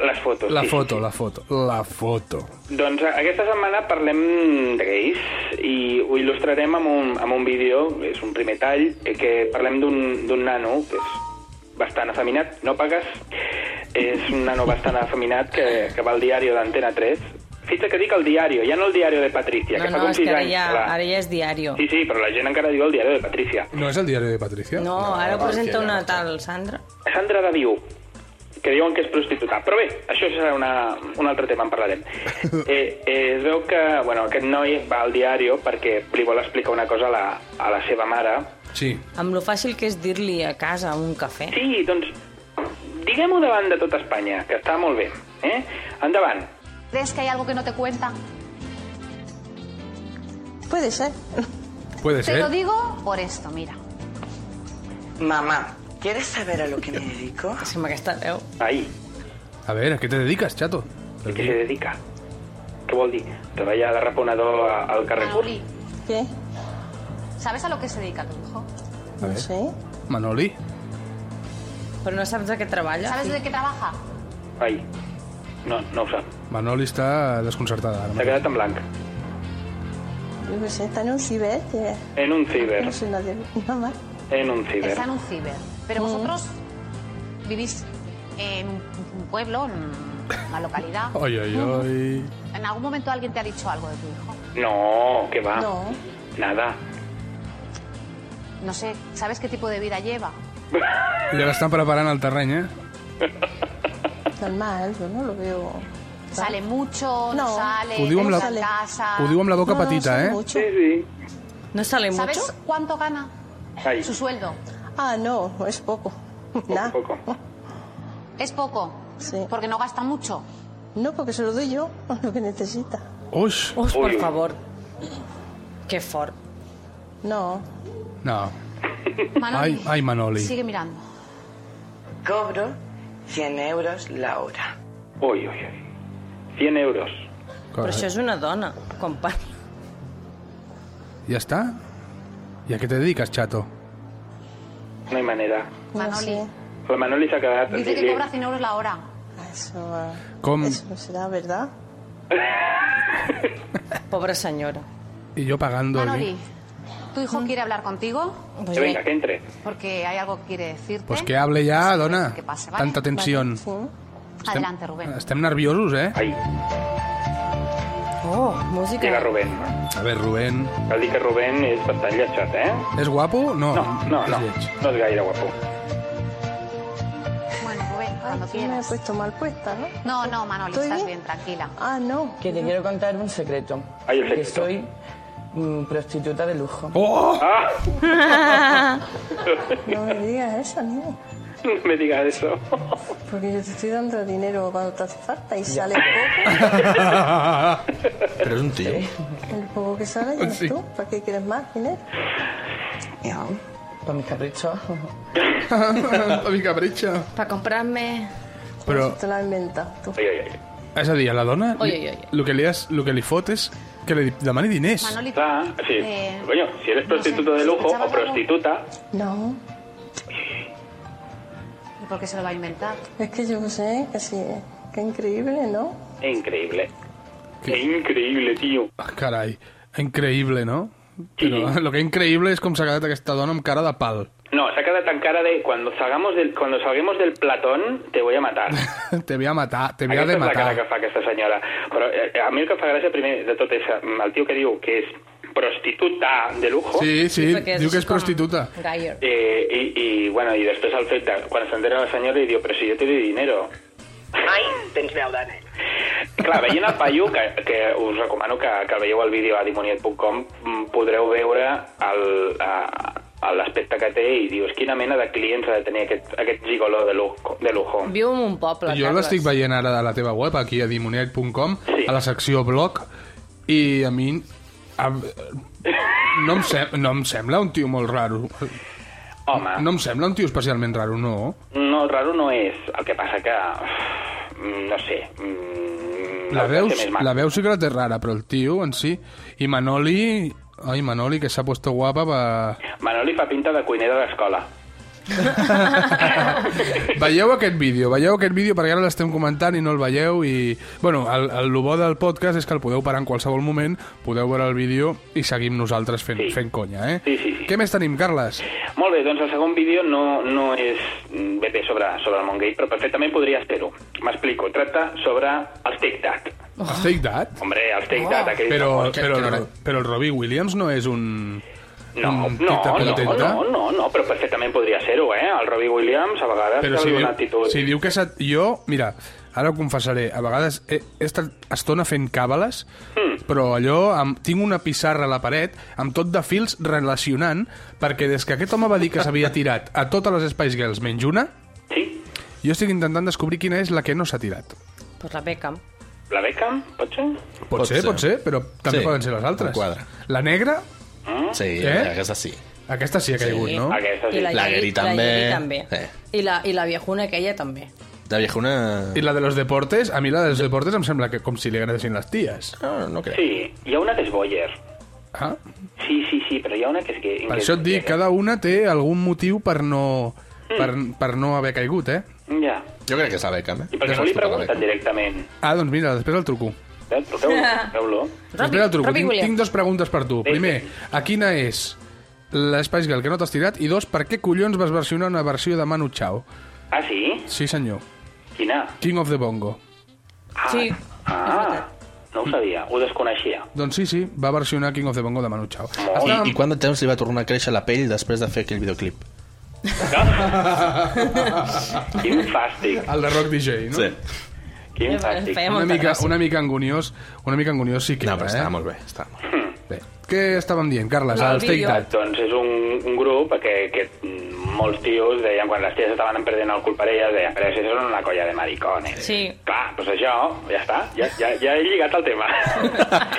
Speaker 4: les fotos.
Speaker 1: La
Speaker 4: sí,
Speaker 1: foto, la foto, la foto.
Speaker 4: Doncs eh, aquesta setmana parlem de gais i ho il·lustrarem amb un, amb un vídeo, és un primer tall, eh, que parlem d'un d'un nano que és bastant afeminat, no pagues, és un nano bastant afeminat que, que va al diari d'Antena 3. Fixa't que dic el diari, ja no el diari de Patricia,
Speaker 3: No,
Speaker 4: que fa
Speaker 3: no,
Speaker 4: com
Speaker 3: és que
Speaker 4: 6
Speaker 3: ara
Speaker 4: anys.
Speaker 3: ja,
Speaker 4: la-
Speaker 3: ara ja és diario.
Speaker 4: Sí, sí, però la gent encara diu el diari de Patricia.
Speaker 1: No és el diari de Patricia?
Speaker 3: No, ara ho presenta una tal, Sandra.
Speaker 4: Sandra Daviu, que diuen que és prostituta. Però bé, això serà una, un altre tema, en parlarem. Eh, eh, es veu que bueno, aquest noi va al diari perquè li vol explicar una cosa a la, a la seva mare.
Speaker 1: Sí.
Speaker 3: Amb lo fàcil que és dir-li a casa un cafè.
Speaker 4: Sí, doncs diguem-ho davant de tot Espanya, que està molt bé. Eh? Endavant.
Speaker 5: ¿Crees que hay algo que no te cuentan?
Speaker 9: Puede ser.
Speaker 1: Puede
Speaker 5: Te lo
Speaker 1: ser.
Speaker 5: digo por esto, mira.
Speaker 9: Mamá, ¿quieres saber a lo que me dedico?
Speaker 3: Sí, amb aquesta veu.
Speaker 4: Ahí,
Speaker 1: A ver, ¿a qué te dedicas, chato?
Speaker 4: a què se dedica? Què vol dir? Treballa de reponedor a- al Carrefour?
Speaker 5: Manoli,
Speaker 9: ¿Qué?
Speaker 5: ¿sabes a lo que se dedica tu hijo?
Speaker 1: A ver,
Speaker 9: sé.
Speaker 1: Manoli.
Speaker 3: Però no saps de què treballa?
Speaker 5: ¿Sabes de qué trabaja?
Speaker 4: Ai, no, no ho sap.
Speaker 1: Manoli està desconcertada. Ara
Speaker 4: S'ha
Speaker 1: mateix.
Speaker 4: quedat en blanc.
Speaker 9: Yo qué sé, está en un ciber. que
Speaker 4: En un ciber.
Speaker 9: No sé nadie. Mamá.
Speaker 4: En un ciber.
Speaker 5: Está en un ciber. Pero vosotros vivís en un pueblo, en
Speaker 1: [LAUGHS]
Speaker 5: una localidad.
Speaker 1: Ai, ai, ai.
Speaker 5: ¿En algún momento alguien te ha dicho algo de tu hijo?
Speaker 4: No, que va.
Speaker 9: No.
Speaker 4: Nada.
Speaker 5: No sé, ¿sabes qué tipo de vida lleva?
Speaker 1: Ja l'estan preparant al terreny, eh?
Speaker 9: Normal, yo no lo veo.
Speaker 5: ¿Sale mucho? ¿No,
Speaker 9: No.
Speaker 5: sale?
Speaker 1: Ho diu amb la,
Speaker 5: ¿Está en casa?
Speaker 1: ho diu amb la boca
Speaker 9: No, no,
Speaker 1: petita,
Speaker 9: sale
Speaker 1: eh?
Speaker 9: mucho.
Speaker 4: sí.
Speaker 3: No sale
Speaker 5: ¿Sabes
Speaker 3: mucho?
Speaker 5: cuánto gana?
Speaker 4: Ay.
Speaker 5: Su sueldo.
Speaker 9: Ah, no, es poco. Nah.
Speaker 4: poco.
Speaker 5: ¿Es poco?
Speaker 9: Sí.
Speaker 5: Porque no gasta mucho.
Speaker 9: No, porque se lo doy yo lo que necesita.
Speaker 1: Uix!
Speaker 3: Uf, per
Speaker 4: Ui.
Speaker 3: favor. Que fort.
Speaker 9: No.
Speaker 1: No.
Speaker 5: Manoli,
Speaker 1: Ay, ay, Manoli.
Speaker 5: Sigue mirando.
Speaker 9: Cobro 100 euros la hora.
Speaker 4: Uy, uy, uy. 100 euros.
Speaker 3: Però això és una dona, quan parla.
Speaker 1: ¿Ya está? ¿Y a qué te dedicas, chato?
Speaker 4: No hay manera.
Speaker 5: Manoli.
Speaker 4: La Manoli s'ha quedat...
Speaker 5: Dice que
Speaker 4: li-
Speaker 5: cobra 100 euros la hora.
Speaker 10: Eso, eh,
Speaker 1: Com...
Speaker 10: eso no será verdad.
Speaker 3: [LAUGHS] Pobre senyora.
Speaker 1: Y yo pagando aquí.
Speaker 5: Manoli, ¿tu hijo quiere hablar contigo?
Speaker 1: Que venga, que entre.
Speaker 5: Porque hay algo que quiere decirte.
Speaker 1: Pues que hable ya, dona.
Speaker 5: que pase, ¿vale?
Speaker 1: Tanta tensión.
Speaker 5: Adelante, Rubén.
Speaker 1: Estem nerviosos, eh?
Speaker 4: Ai.
Speaker 3: Oh, música.
Speaker 4: Llega Rubén.
Speaker 1: A ver, Rubén...
Speaker 4: Cal dir que Rubén és bastant lletjat, eh?
Speaker 1: És guapo? No.
Speaker 4: No, no, no.
Speaker 5: [LAUGHS]
Speaker 1: [LAUGHS]
Speaker 4: No és gaire guapo.
Speaker 5: Bueno, Rubén, cuando
Speaker 10: Sí, me he
Speaker 5: quieras.
Speaker 3: pues.
Speaker 10: puesto mal puesta, ¿no?
Speaker 5: No, no, Manoli,
Speaker 10: ¿Estoy
Speaker 5: estás
Speaker 10: bien?
Speaker 5: bien, tranquila.
Speaker 10: Ah, no.
Speaker 11: Que te quiero contar un secreto.
Speaker 4: Ay, el
Speaker 11: Que soy mm, prostituta de lujo.
Speaker 10: [LAUGHS] No me digas eso, niña.
Speaker 4: Ah. No me digas eso.
Speaker 10: Porque yo te estoy dando dinero cuando te hace falta y sale
Speaker 2: Però és un tio.
Speaker 10: poco. El poco que sale, ya ves
Speaker 2: Sí.
Speaker 10: tú.
Speaker 1: [LAUGHS]
Speaker 10: ¿Para qué quieres más dinero?
Speaker 11: Ya. Para mis caprichos.
Speaker 1: Para mi capritxa.
Speaker 3: Para comprarme...
Speaker 1: Però,
Speaker 10: Te la has inventado tú.
Speaker 1: és a dir, a la dona...
Speaker 10: Oi, oi,
Speaker 1: li-
Speaker 10: oi.
Speaker 1: Lo que li, has, lo que li fot és que li demani diners.
Speaker 10: Manoli,
Speaker 4: Ah, sí.
Speaker 10: Eh,
Speaker 4: Coño, si eres prostituta de lujo o prostituta...
Speaker 10: No.
Speaker 5: ¿Y por qué se lo va a inventar?
Speaker 10: Es que yo sé que sí. Qué increíble, ¿no?
Speaker 4: Increíble. Que increíble, tio.
Speaker 1: Ah, Carai, increïble, no? Però el que és increïble és com s'ha quedat aquesta dona amb cara de pal. [LAUGHS]
Speaker 4: No, se ha quedado tan cara de cuando salgamos del cuando salguemos del platón te voy
Speaker 1: [LAUGHS]
Speaker 4: a matar.
Speaker 1: Te voy a matar, te voy a
Speaker 4: Aquesta
Speaker 1: de
Speaker 4: és la cara que
Speaker 1: matar.
Speaker 4: fa aquesta senyora. Però eh, a mi el que em fa gràcia primer de tot és eh, el tio que diu que és prostituta de lujo.
Speaker 1: Sí, sí, diu que és prostituta.
Speaker 3: Gayer.
Speaker 4: Eh, y, y, bueno, y después al fet de, quan s'entera la senyora i diu, però si jo te doy dinero.
Speaker 9: Ai, tens veu de nen.
Speaker 4: Clar, veient el paio, que, que us recomano que, que veieu el vídeo a dimoniet.com, mm, podreu veure el, a, a l'aspecte que té i dius, quina mena de clients ha de tenir aquest, aquest gigoló de lujo. De lujo.
Speaker 3: Viu en un poble,
Speaker 1: Jo
Speaker 3: Carles.
Speaker 1: l'estic veient ara a la teva web, aquí a dimoniac.com, a la secció blog, i a mi... A, no, em sem, no em sembla un tio molt raro.
Speaker 4: Home.
Speaker 1: No em sembla un tio especialment raro, no.
Speaker 4: No, raro no és. El que passa que... mm, No sé. mm,
Speaker 1: La
Speaker 4: el que
Speaker 1: veus,
Speaker 4: té més mal.
Speaker 1: la veus sí que la té rara, però el tio en si... I Manoli... Ai, Manoli, que s'ha puesto guapa
Speaker 4: [LAUGHS]
Speaker 1: pa...
Speaker 4: Manoli fa pinta de cuinera d'escola.
Speaker 1: Veieu aquest vídeo, veieu aquest vídeo perquè ara l'estem comentant i no el veieu i... Bueno, el, el, el bo del podcast és que el podeu parar en qualsevol moment, podeu veure el vídeo i seguim nosaltres fent, sí. fent conya, eh? Sí, sí, sí. Què més tenim, Carles?
Speaker 4: Molt bé, doncs el segon vídeo no, no és mm, ben bé sobre, sobre el món gay, però perfectament podria ser-ho. M'explico, tracta sobre els tic-tac.
Speaker 1: Oh. Steak Dad?
Speaker 4: Hombre, els tic-tac, aquells...
Speaker 1: Però,
Speaker 4: que-
Speaker 1: però,
Speaker 4: que-
Speaker 1: el, però el Robbie Williams no és un...
Speaker 4: No, no,
Speaker 1: un
Speaker 4: no,
Speaker 1: mm, tic-tac
Speaker 4: no,
Speaker 1: patenta?
Speaker 4: no, no, no, però perfectament podria ser-ho, eh? El Robbie Williams a vegades
Speaker 1: Però
Speaker 4: té
Speaker 1: si diu,
Speaker 4: alguna actitud...
Speaker 1: si diu que s'ha... Jo, mira, ara ho confessaré, a vegades he, he estat estona fent càbales, mm. però allò, amb, tinc una pissarra a la paret, amb tot de fils relacionant, perquè des que aquest home va dir que s'havia tirat a totes les Spice Girls menys una,
Speaker 4: sí.
Speaker 1: jo estic intentant descobrir quina és la que no s'ha tirat.
Speaker 3: Pues la Beckham.
Speaker 4: La Beckham, pot ser?
Speaker 1: Pot, pot ser, ser, pot ser, però també
Speaker 2: Sí,
Speaker 1: sí, poden ser les
Speaker 2: em
Speaker 1: altres.
Speaker 2: quadra.
Speaker 1: La negra,
Speaker 2: Sí,
Speaker 1: Eh?
Speaker 2: eh? aquesta sí.
Speaker 1: aquesta sí ha caigut, no?
Speaker 4: Aquesta
Speaker 3: I la
Speaker 2: La Gary
Speaker 3: Yeri- la
Speaker 2: també.
Speaker 3: Yeri també.
Speaker 2: Eh.
Speaker 3: I la, I la viejuna aquella també.
Speaker 2: La viejuna...
Speaker 1: I la de los deportes, a mi la de los deportes em sembla que com si li agradessin les ties.
Speaker 2: No, no crec.
Speaker 4: Sí, hi ha una que és Boyer.
Speaker 1: Ah?
Speaker 4: Sí, sí, sí, però hi ha una que és... Que,
Speaker 1: Per
Speaker 4: que
Speaker 1: això et dic, cada una té algun motiu per no, per,
Speaker 4: Mm.
Speaker 1: per no haver caigut, eh?
Speaker 4: Ja.
Speaker 2: Jo crec que és la Beckham, eh?
Speaker 4: I per què no li pregunten directament?
Speaker 1: Ah, doncs mira, després el truco.
Speaker 4: Eh, truqueu-lo, truqueu-lo.
Speaker 1: després el truco. Tinc, tinc dos preguntes per tu. Primer, a quina és la Spice Girl que no t'has tirat? I dos, per què collons vas versionar una versió de Manu Chao?
Speaker 4: Ah, sí?
Speaker 1: Sí, senyor.
Speaker 4: Quina?
Speaker 1: King of the Bongo.
Speaker 4: Ah, sí. Ah, no ho sabia, ho desconeixia.
Speaker 1: Doncs sí, sí, va versionar King of the Bongo de Manu Chao.
Speaker 2: I,
Speaker 1: Estàvem-
Speaker 2: I quant de temps li va tornar a créixer la pell després de fer aquell videoclip?
Speaker 4: Quin fàstic.
Speaker 1: El de Rock DJ, no? Sí.
Speaker 4: Quin fàstic.
Speaker 1: Una mica, una mica angoniós, una mica angoniós sí que
Speaker 2: No,
Speaker 1: era,
Speaker 2: però
Speaker 1: eh?
Speaker 2: estava molt bé, estava molt bé.
Speaker 1: Bé. Què estàvem dient, Carles? El Take That.
Speaker 4: Doncs és un, un grup que, que molts tios deien, quan les ties estaven perdent el cul per elles, deien, però si són una colla de maricones.
Speaker 3: Sí.
Speaker 4: Clar, doncs això, ja està, ja, ja, ja he lligat el
Speaker 3: [LAUGHS]
Speaker 4: tema.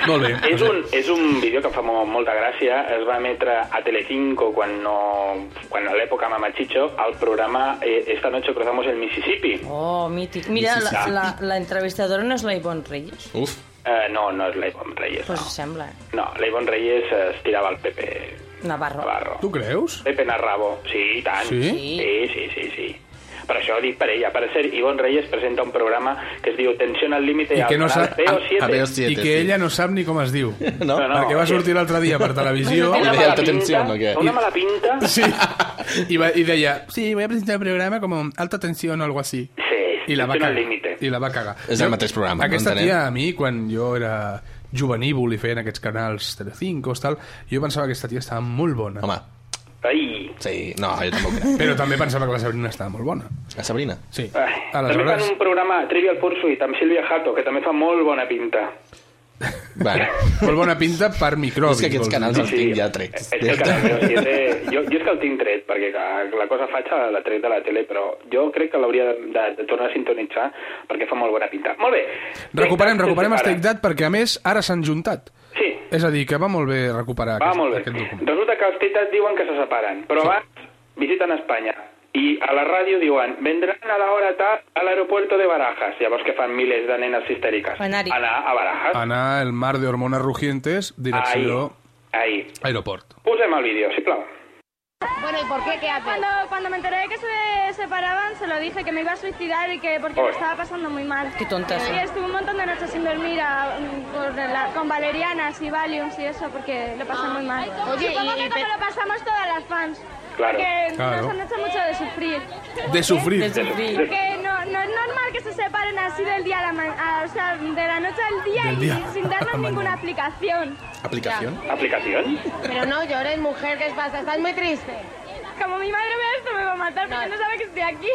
Speaker 1: Molt bé.
Speaker 4: és, un, és un vídeo que em fa molt, molta gràcia, es va emetre a Telecinco quan no... quan a l'època Mamachicho, el programa eh, Esta noche cruzamos el Mississippi.
Speaker 3: Oh, mític. Mira, la, la, la entrevistadora no és la Ivonne Reyes.
Speaker 2: Uf.
Speaker 4: Eh, no, no és la Ivonne Reyes.
Speaker 3: Pues sembla. eh.
Speaker 4: No, la Ivonne Reyes eh, es tirava al Pepe
Speaker 3: Navarro.
Speaker 4: Navarro.
Speaker 1: Tu creus?
Speaker 4: Pepe Narrabo, sí, i tant.
Speaker 1: Sí?
Speaker 4: Sí, sí, sí, sí. Per això dic per ella. Per ser, Ivonne Reyes presenta un programa que es diu Tensión al límite
Speaker 1: I que, no
Speaker 4: al
Speaker 1: sap,
Speaker 4: canal VO7.
Speaker 1: I que ella no sap ni com es diu. No?
Speaker 4: No, no,
Speaker 1: Perquè va
Speaker 4: sí.
Speaker 1: sortir l'altre dia per televisió.
Speaker 4: Una mala pinta, una mala pinta.
Speaker 1: [LAUGHS] Sí. [LAUGHS] I, va, I deia, sí, voy a presentar el programa com alta tensión o algo así.
Speaker 4: Sí,
Speaker 1: I la va
Speaker 4: Tensión al
Speaker 1: cagar.
Speaker 4: límite.
Speaker 1: I la va cagar.
Speaker 2: És el mateix programa, no
Speaker 1: Aquesta
Speaker 2: entenem.
Speaker 1: tia, a mi, quan jo era juvenívol i feien aquests canals Telecinco, tal, jo pensava que aquesta tia estava molt bona. Home.
Speaker 4: Ai.
Speaker 1: Sí, no, jo tampoc. Però també pensava que la Sabrina estava molt bona.
Speaker 2: La Sabrina?
Speaker 1: Sí.
Speaker 4: També fan
Speaker 1: Aleshores,
Speaker 4: un programa Trivial Pursuit amb Silvia Jato, que també fa molt bona pinta.
Speaker 2: Bueno.
Speaker 1: molt bona pinta per microbis.
Speaker 2: És que aquests
Speaker 1: vols dir,
Speaker 2: canals
Speaker 1: no?
Speaker 2: els tinc ja trets.
Speaker 4: És que el canal meu sí, té- jo, jo és que el tinc tret, perquè clar, la cosa faig la tret de la tele, però jo crec que l'hauria de, de, de tornar a sintonitzar perquè fa molt bona pinta. Molt bé.
Speaker 1: Recuperem,
Speaker 4: [LAUGHS] Take That
Speaker 1: recuperem
Speaker 4: se
Speaker 1: els
Speaker 4: separa.
Speaker 1: Take That perquè, a més, ara s'han juntat.
Speaker 4: Sí.
Speaker 1: És a dir, que va molt bé recuperar
Speaker 4: Va,
Speaker 1: aquest,
Speaker 4: molt
Speaker 1: aquest
Speaker 4: bé.
Speaker 1: document.
Speaker 4: Resulta que els tites diuen que se separen, però sí. abans visiten Espanya i a la ràdio diuen vendran a la hora tal a l'aeropuerto de Barajas. Llavors que fan milers de nenes histèriques?
Speaker 3: Anar-hi.
Speaker 4: Anar a Barajas.
Speaker 1: Anar el mar de hormones rugientes, direcció
Speaker 4: Ahí.
Speaker 1: aeroport.
Speaker 4: Posem el vídeo, sisplau.
Speaker 8: Bueno, ¿y por qué? ¿Qué haces? Cuando, cuando me enteré de que se separaban, se lo dije, que me iba a suicidar y que porque
Speaker 3: Oy.
Speaker 8: me estaba pasando muy mal.
Speaker 3: Qué tonta
Speaker 8: Y
Speaker 3: esa.
Speaker 8: estuve un montón de noches sin dormir a- con, la- con valerianas y valiums y eso, porque lo pasé muy mal.
Speaker 12: Oye,
Speaker 8: Supongo
Speaker 12: y-
Speaker 8: que
Speaker 12: y
Speaker 8: como lo pasamos todas las fans.
Speaker 12: Claro.
Speaker 8: Porque
Speaker 12: Claro.
Speaker 8: nos han hecho mucho de sufrir.
Speaker 1: De sufrir.
Speaker 8: Porque-
Speaker 1: De sufrir.
Speaker 8: Porque no, no es normal que se separen así del día a la ma- a- o sea, de la noche al día
Speaker 1: Del
Speaker 8: y
Speaker 1: día
Speaker 8: sin
Speaker 1: [LAUGHS] a
Speaker 8: darnos
Speaker 1: la
Speaker 8: ninguna
Speaker 1: mañana.
Speaker 8: aplicación.
Speaker 1: Aplicación?
Speaker 4: Aplicación?
Speaker 12: Pero no llores, mujer, ¿qué pasa? Estás muy triste.
Speaker 8: Como mi madre vea esto me va a matar porque no sabe que estoy aquí.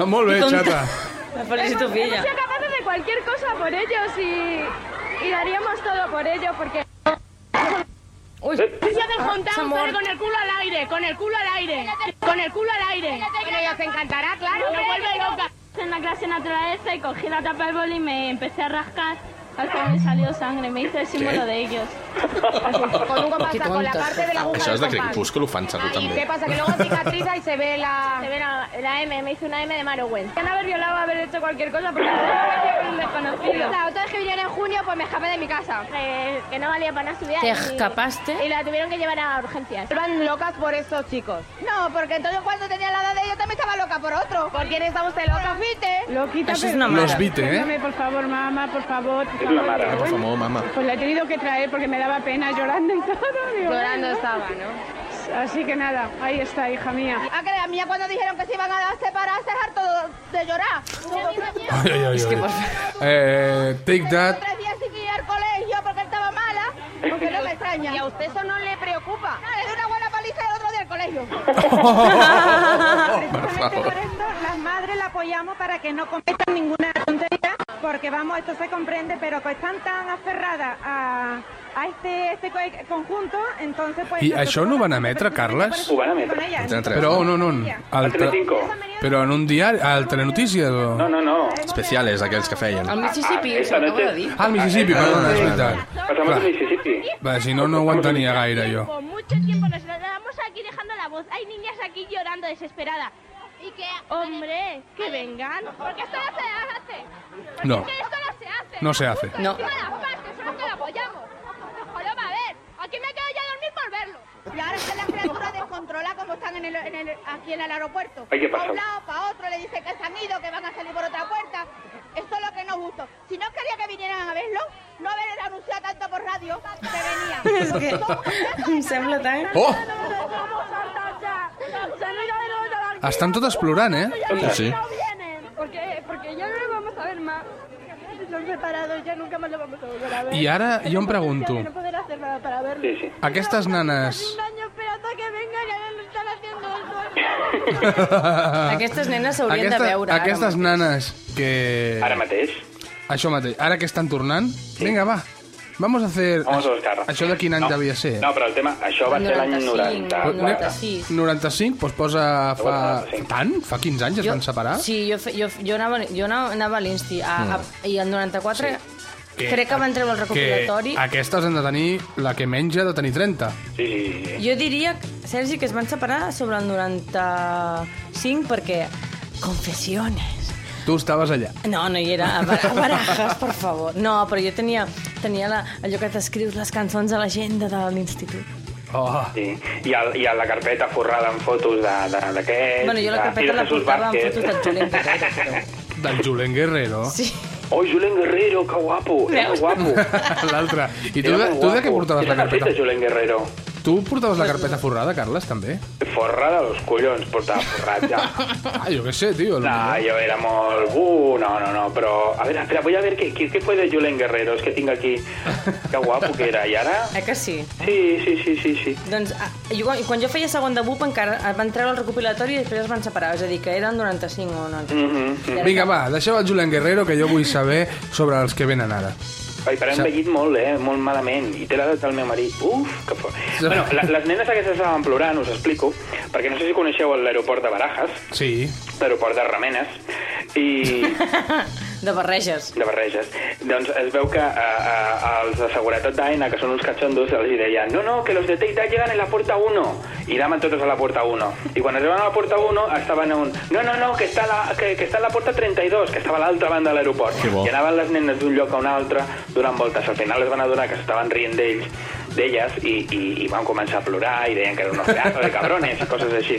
Speaker 1: Uh, molt bé, xata.
Speaker 3: La felicito,
Speaker 8: Hemos-
Speaker 3: filla.
Speaker 8: Hemos sido capaces de cualquier cosa por ellos y, y daríamos todo por ellos porque... Ah,
Speaker 3: Uy,
Speaker 4: Eh,
Speaker 12: del
Speaker 8: Se ha
Speaker 12: juntado
Speaker 8: muerto.
Speaker 12: con el culo al aire, con el culo al aire, con el culo al aire. Bueno, ya te encantará, claro, me vuelve loca.
Speaker 8: En la clase de naturaleza y cogí la tapa del boli y me empecé a rascar hasta que me salió sangre. Me hice el símbolo de ellos.
Speaker 12: Con un compás,
Speaker 8: Qué
Speaker 12: con la
Speaker 8: tontas.
Speaker 12: parte de la aguja
Speaker 2: Això és de
Speaker 12: del compás.
Speaker 2: Crepúsculo, ho fan servir
Speaker 12: ¿Y
Speaker 2: també.
Speaker 12: qué pasa? Que luego cicatriza y se ve la...
Speaker 8: Se ve la, la M, me hizo una M de Marowell. Pueden haber violado, haber hecho cualquier cosa porque no me con un desconocido.
Speaker 12: La
Speaker 8: otra vez que vinieron en junio, pues me escapé de mi casa. que no valía para nada estudiar.
Speaker 12: Te
Speaker 8: y-
Speaker 12: escapaste.
Speaker 8: Y la tuvieron que llevar a urgencias.
Speaker 12: Van locas por estos chicos. No, porque entonces cuando tenía la edad de ellos también estaba loca por otro. ¿Por quién está usted loca? Fite.
Speaker 13: Loquita,
Speaker 12: Eso es
Speaker 13: pero-
Speaker 12: una mala.
Speaker 1: Los vite, ¿eh?
Speaker 13: Déjame, por favor, mamá, por favor. por
Speaker 1: Es una
Speaker 13: favor.
Speaker 1: mala.
Speaker 13: Bueno,
Speaker 1: Por favor, mamá.
Speaker 13: Pues la he tenido que traer porque me daba pena llorando y todo. digo,
Speaker 12: Llorando
Speaker 13: "Ay, no".
Speaker 12: estaba, ¿no?
Speaker 13: Así que nada, ahí está, hija mía.
Speaker 12: Ah, que la mía cuando dijeron que se iban a separar, se harto de llorar.
Speaker 1: Ai, ai, ai, ai. Eh, take That,
Speaker 12: Tres días sin ir al colegio porque estaba mala, porque no me extraña. ¿Y a usted eso no le preocupa? No, le di una buena paliza el otro día al
Speaker 1: [LAUGHS]
Speaker 12: colegio.
Speaker 1: per favor.
Speaker 14: Las madres la apoyamos para que no cometan ninguna tontería, porque vamos, esto se comprende, pero que están tan aferradas a, a este, este co- conjunto, entonces pues...
Speaker 1: I això no ho van emetre, Carles?
Speaker 4: Ho van emetre.
Speaker 1: Però on, on, on? Al
Speaker 4: Al Telecinco.
Speaker 1: Però en un diari, al Telenotícies? O...
Speaker 4: No, no, no.
Speaker 2: Especiales, aquells que feien.
Speaker 3: Al Mississippi, us ho
Speaker 4: ah, Esta
Speaker 3: acabo
Speaker 4: noche-
Speaker 3: de dir.
Speaker 1: Ah, al Mississippi,
Speaker 4: Ah,
Speaker 1: perdona,
Speaker 4: sí.
Speaker 1: és veritat.
Speaker 4: Passamos al
Speaker 1: Clar.
Speaker 4: Mississippi.
Speaker 1: Va, si no, no ho entenia gaire, jo.
Speaker 8: Con mucho tiempo nos quedamos aquí dejando la voz. Hay niñas aquí llorando desesperadas. Y que... Hombre, que vengan. Porque esto no se hace. Porque
Speaker 1: No.
Speaker 8: es que esto no se hace.
Speaker 1: No se hace.
Speaker 3: No.
Speaker 8: Encima las fans, que son las que lo apoyamos. Joder, va a ver. Aquí me quedo ya a dormir por verlo.
Speaker 12: Y ahora está la criatura descontrola como están en el, en el- aquí en el aeropuerto.
Speaker 4: Ay, ¿qué
Speaker 12: Para
Speaker 4: pasó?
Speaker 12: un lado, para otro, le dice que se han ido, que van a salir por otra puerta. Esto es lo que nos gustó. Si no quería que vinieran a verlo, no haber anunciado tanto por radio
Speaker 3: [LAUGHS]
Speaker 12: que venían.
Speaker 3: És que [LAUGHS] em sembla tan...
Speaker 1: Oh!
Speaker 8: Se han ido de nuevo de la
Speaker 1: Estan totes plorant, eh?
Speaker 8: Sí, sí. Porque, porque ya no lo vamos a ver más. Los separados ya nunca más lo vamos a volver a ver.
Speaker 1: I ara jo em pregunto,
Speaker 8: No poder hacer nada para verlo.
Speaker 4: Sí, sí.
Speaker 1: aquestes nanes...
Speaker 8: Un año esperando a que venga y ahora lo están haciendo
Speaker 1: Aquestes
Speaker 3: [LAUGHS]
Speaker 1: [LAUGHS]
Speaker 3: Aquestes nenes s'haurien de veure ara
Speaker 1: Aquestes nanes que...
Speaker 4: Ara mateix.
Speaker 1: Això mateix. Ara que estan tornant, vinga, va. Vamos a hacer...
Speaker 4: Vamos a buscar.
Speaker 1: Això de quin any
Speaker 4: No.
Speaker 1: devia ser?
Speaker 4: No, però el tema... Això va ser l'any 90.
Speaker 1: Però- 95, doncs posa fa... Tant? Fa 15 anys es van separar?
Speaker 3: Sí, jo, fe- jo, jo, anava, jo anava, anava a l'insti a, a, i el 94
Speaker 1: Que-
Speaker 3: crec que van treure el recopilatori.
Speaker 1: Que aquestes han de tenir... La que menja ha de tenir 30.
Speaker 4: Sí, sí, sí.
Speaker 3: Jo diria, Sergi, que es van separar sobre el 95 perquè... Confessiones.
Speaker 1: Tu estaves allà.
Speaker 3: No, no hi era. A Bar- a Barajas, per favor. No, però jo tenia, tenia la, allò que t'escrius les cançons a l'agenda de l'institut.
Speaker 1: Oh.
Speaker 4: Sí. I, el, I a la carpeta forrada amb fotos d'aquest... De, de,
Speaker 3: Bueno, jo la carpeta la portava amb fotos del Julen
Speaker 4: [LAUGHS]
Speaker 3: Guerrero, però...
Speaker 1: Del Julen Guerrero.
Speaker 3: Sí.
Speaker 4: Oh, Julen Guerrero, que guapo, era
Speaker 3: Veus?
Speaker 4: guapo.
Speaker 1: [LAUGHS] L'altre. I tu,
Speaker 4: Era
Speaker 1: de,
Speaker 4: molt
Speaker 1: tu de què
Speaker 4: guapo.
Speaker 1: portaves
Speaker 4: Què
Speaker 1: la
Speaker 4: se n'ha fet,
Speaker 1: carpeta?
Speaker 4: de Julen Guerrero?
Speaker 1: Tu portaves la carpeta forrada, Carles, també?
Speaker 4: Forrada dels collons, portava forrat ja.
Speaker 1: [LAUGHS] Ah, jo què sé, tio.
Speaker 4: No, jo era molt... Uh, no, no, no, però... A veure, espera, voy a ver qué, qué, qué fue de Julen Guerrero, és que tinc aquí... Que guapo que era, i ara...
Speaker 3: Eh que sí?
Speaker 4: Sí, sí, sí, sí, sí.
Speaker 3: Doncs ah, jo, quan- quan jo feia segon de BUP encara eh, van treure el recopilatori i després es van separar, és a dir, que eren 95 o 90.
Speaker 4: Mhm.
Speaker 1: Vinga, va, deixeu el Julen Guerrero, que jo vull saber sobre els que venen ara.
Speaker 4: Ai, però hem vellit molt, eh? Molt malament. I té l'edat del meu marit. Uf, que fort. Bueno, la, les nenes aquestes estaven plorant, us explico, perquè no sé si coneixeu l'aeroport de Barajas,
Speaker 1: Sí.
Speaker 4: l'aeroport de Ramenes, i
Speaker 3: De barreges.
Speaker 4: de Barreges. Doncs es veu que a, a, els de seguretat d'Aena, que són uns cachondos, els hi deien no, no, que los de Teita llegan en la puerta 1. I anaven totes a la puerta 1. I quan arribaven a la puerta 1 estaven a un no, no, no, que està, la, que, que està a la puerta 32, que estava a l'altra banda de l'aeroport.
Speaker 2: Que bo.
Speaker 4: I anaven les nenes d'un lloc a un altre donant voltes. Al final es van adonar que s'estaven rient d'ells d'elles i, i, i van començar a plorar i deien que era unos pedazos de cabrones i coses així.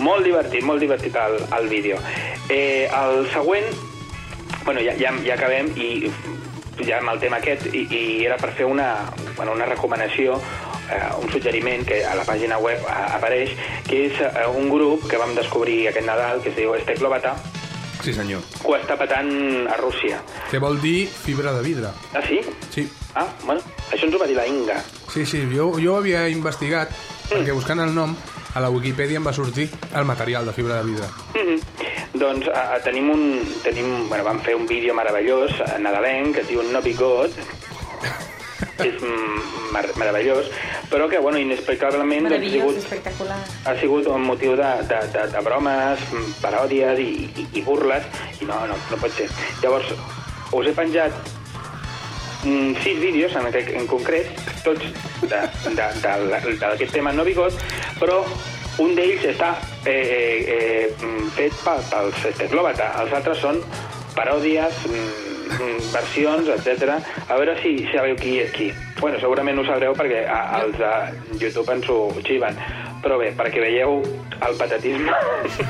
Speaker 4: Molt divertit, molt divertit el, el vídeo. Eh, el següent Bueno, ja, ja, ja acabem i ja amb el tema aquest i, i era per fer una, bueno, una recomanació eh, un suggeriment que a la pàgina web eh, apareix, que és eh, un grup que vam descobrir aquest Nadal, que es diu Esteclobata,
Speaker 1: Sí, senyor.
Speaker 4: que ho està petant a Rússia.
Speaker 1: Que vol dir fibra de vidre.
Speaker 4: Ah, sí?
Speaker 1: Sí.
Speaker 4: Ah, bueno, això ens ho va dir la Inga.
Speaker 1: Sí, sí, jo, jo ho havia investigat, perquè buscant el nom, a la Wikipedia em va sortir el material de fibra de vidre.
Speaker 4: Mhm. Doncs a, a, tenim un... Tenim, bueno, vam fer un vídeo meravellós eh, nadalenc que es diu No Bigot, és mm, mar meravellós, però que, bueno, inexplicablement... doncs, ha
Speaker 3: Meravellós,
Speaker 4: sigut-
Speaker 3: espectacular.
Speaker 4: ha sigut un motiu de, de, de, de bromes, mm, paròdies i, i, i burles, i no, no, no pot ser. Llavors, us he penjat mm, sis vídeos, en, aquest- en concret, tots d'aquest de, de, de, d'aquest tema no bigot, però un d'ells està eh, eh, eh, mm, fet pel, pels Esteglòbata, els altres són paròdies, mm, mm, versions, etc. A veure si sabeu qui és qui. Bueno, segurament ho sabreu perquè a, els de YouTube ens ho xiven. Però bé, perquè veieu el patatisme.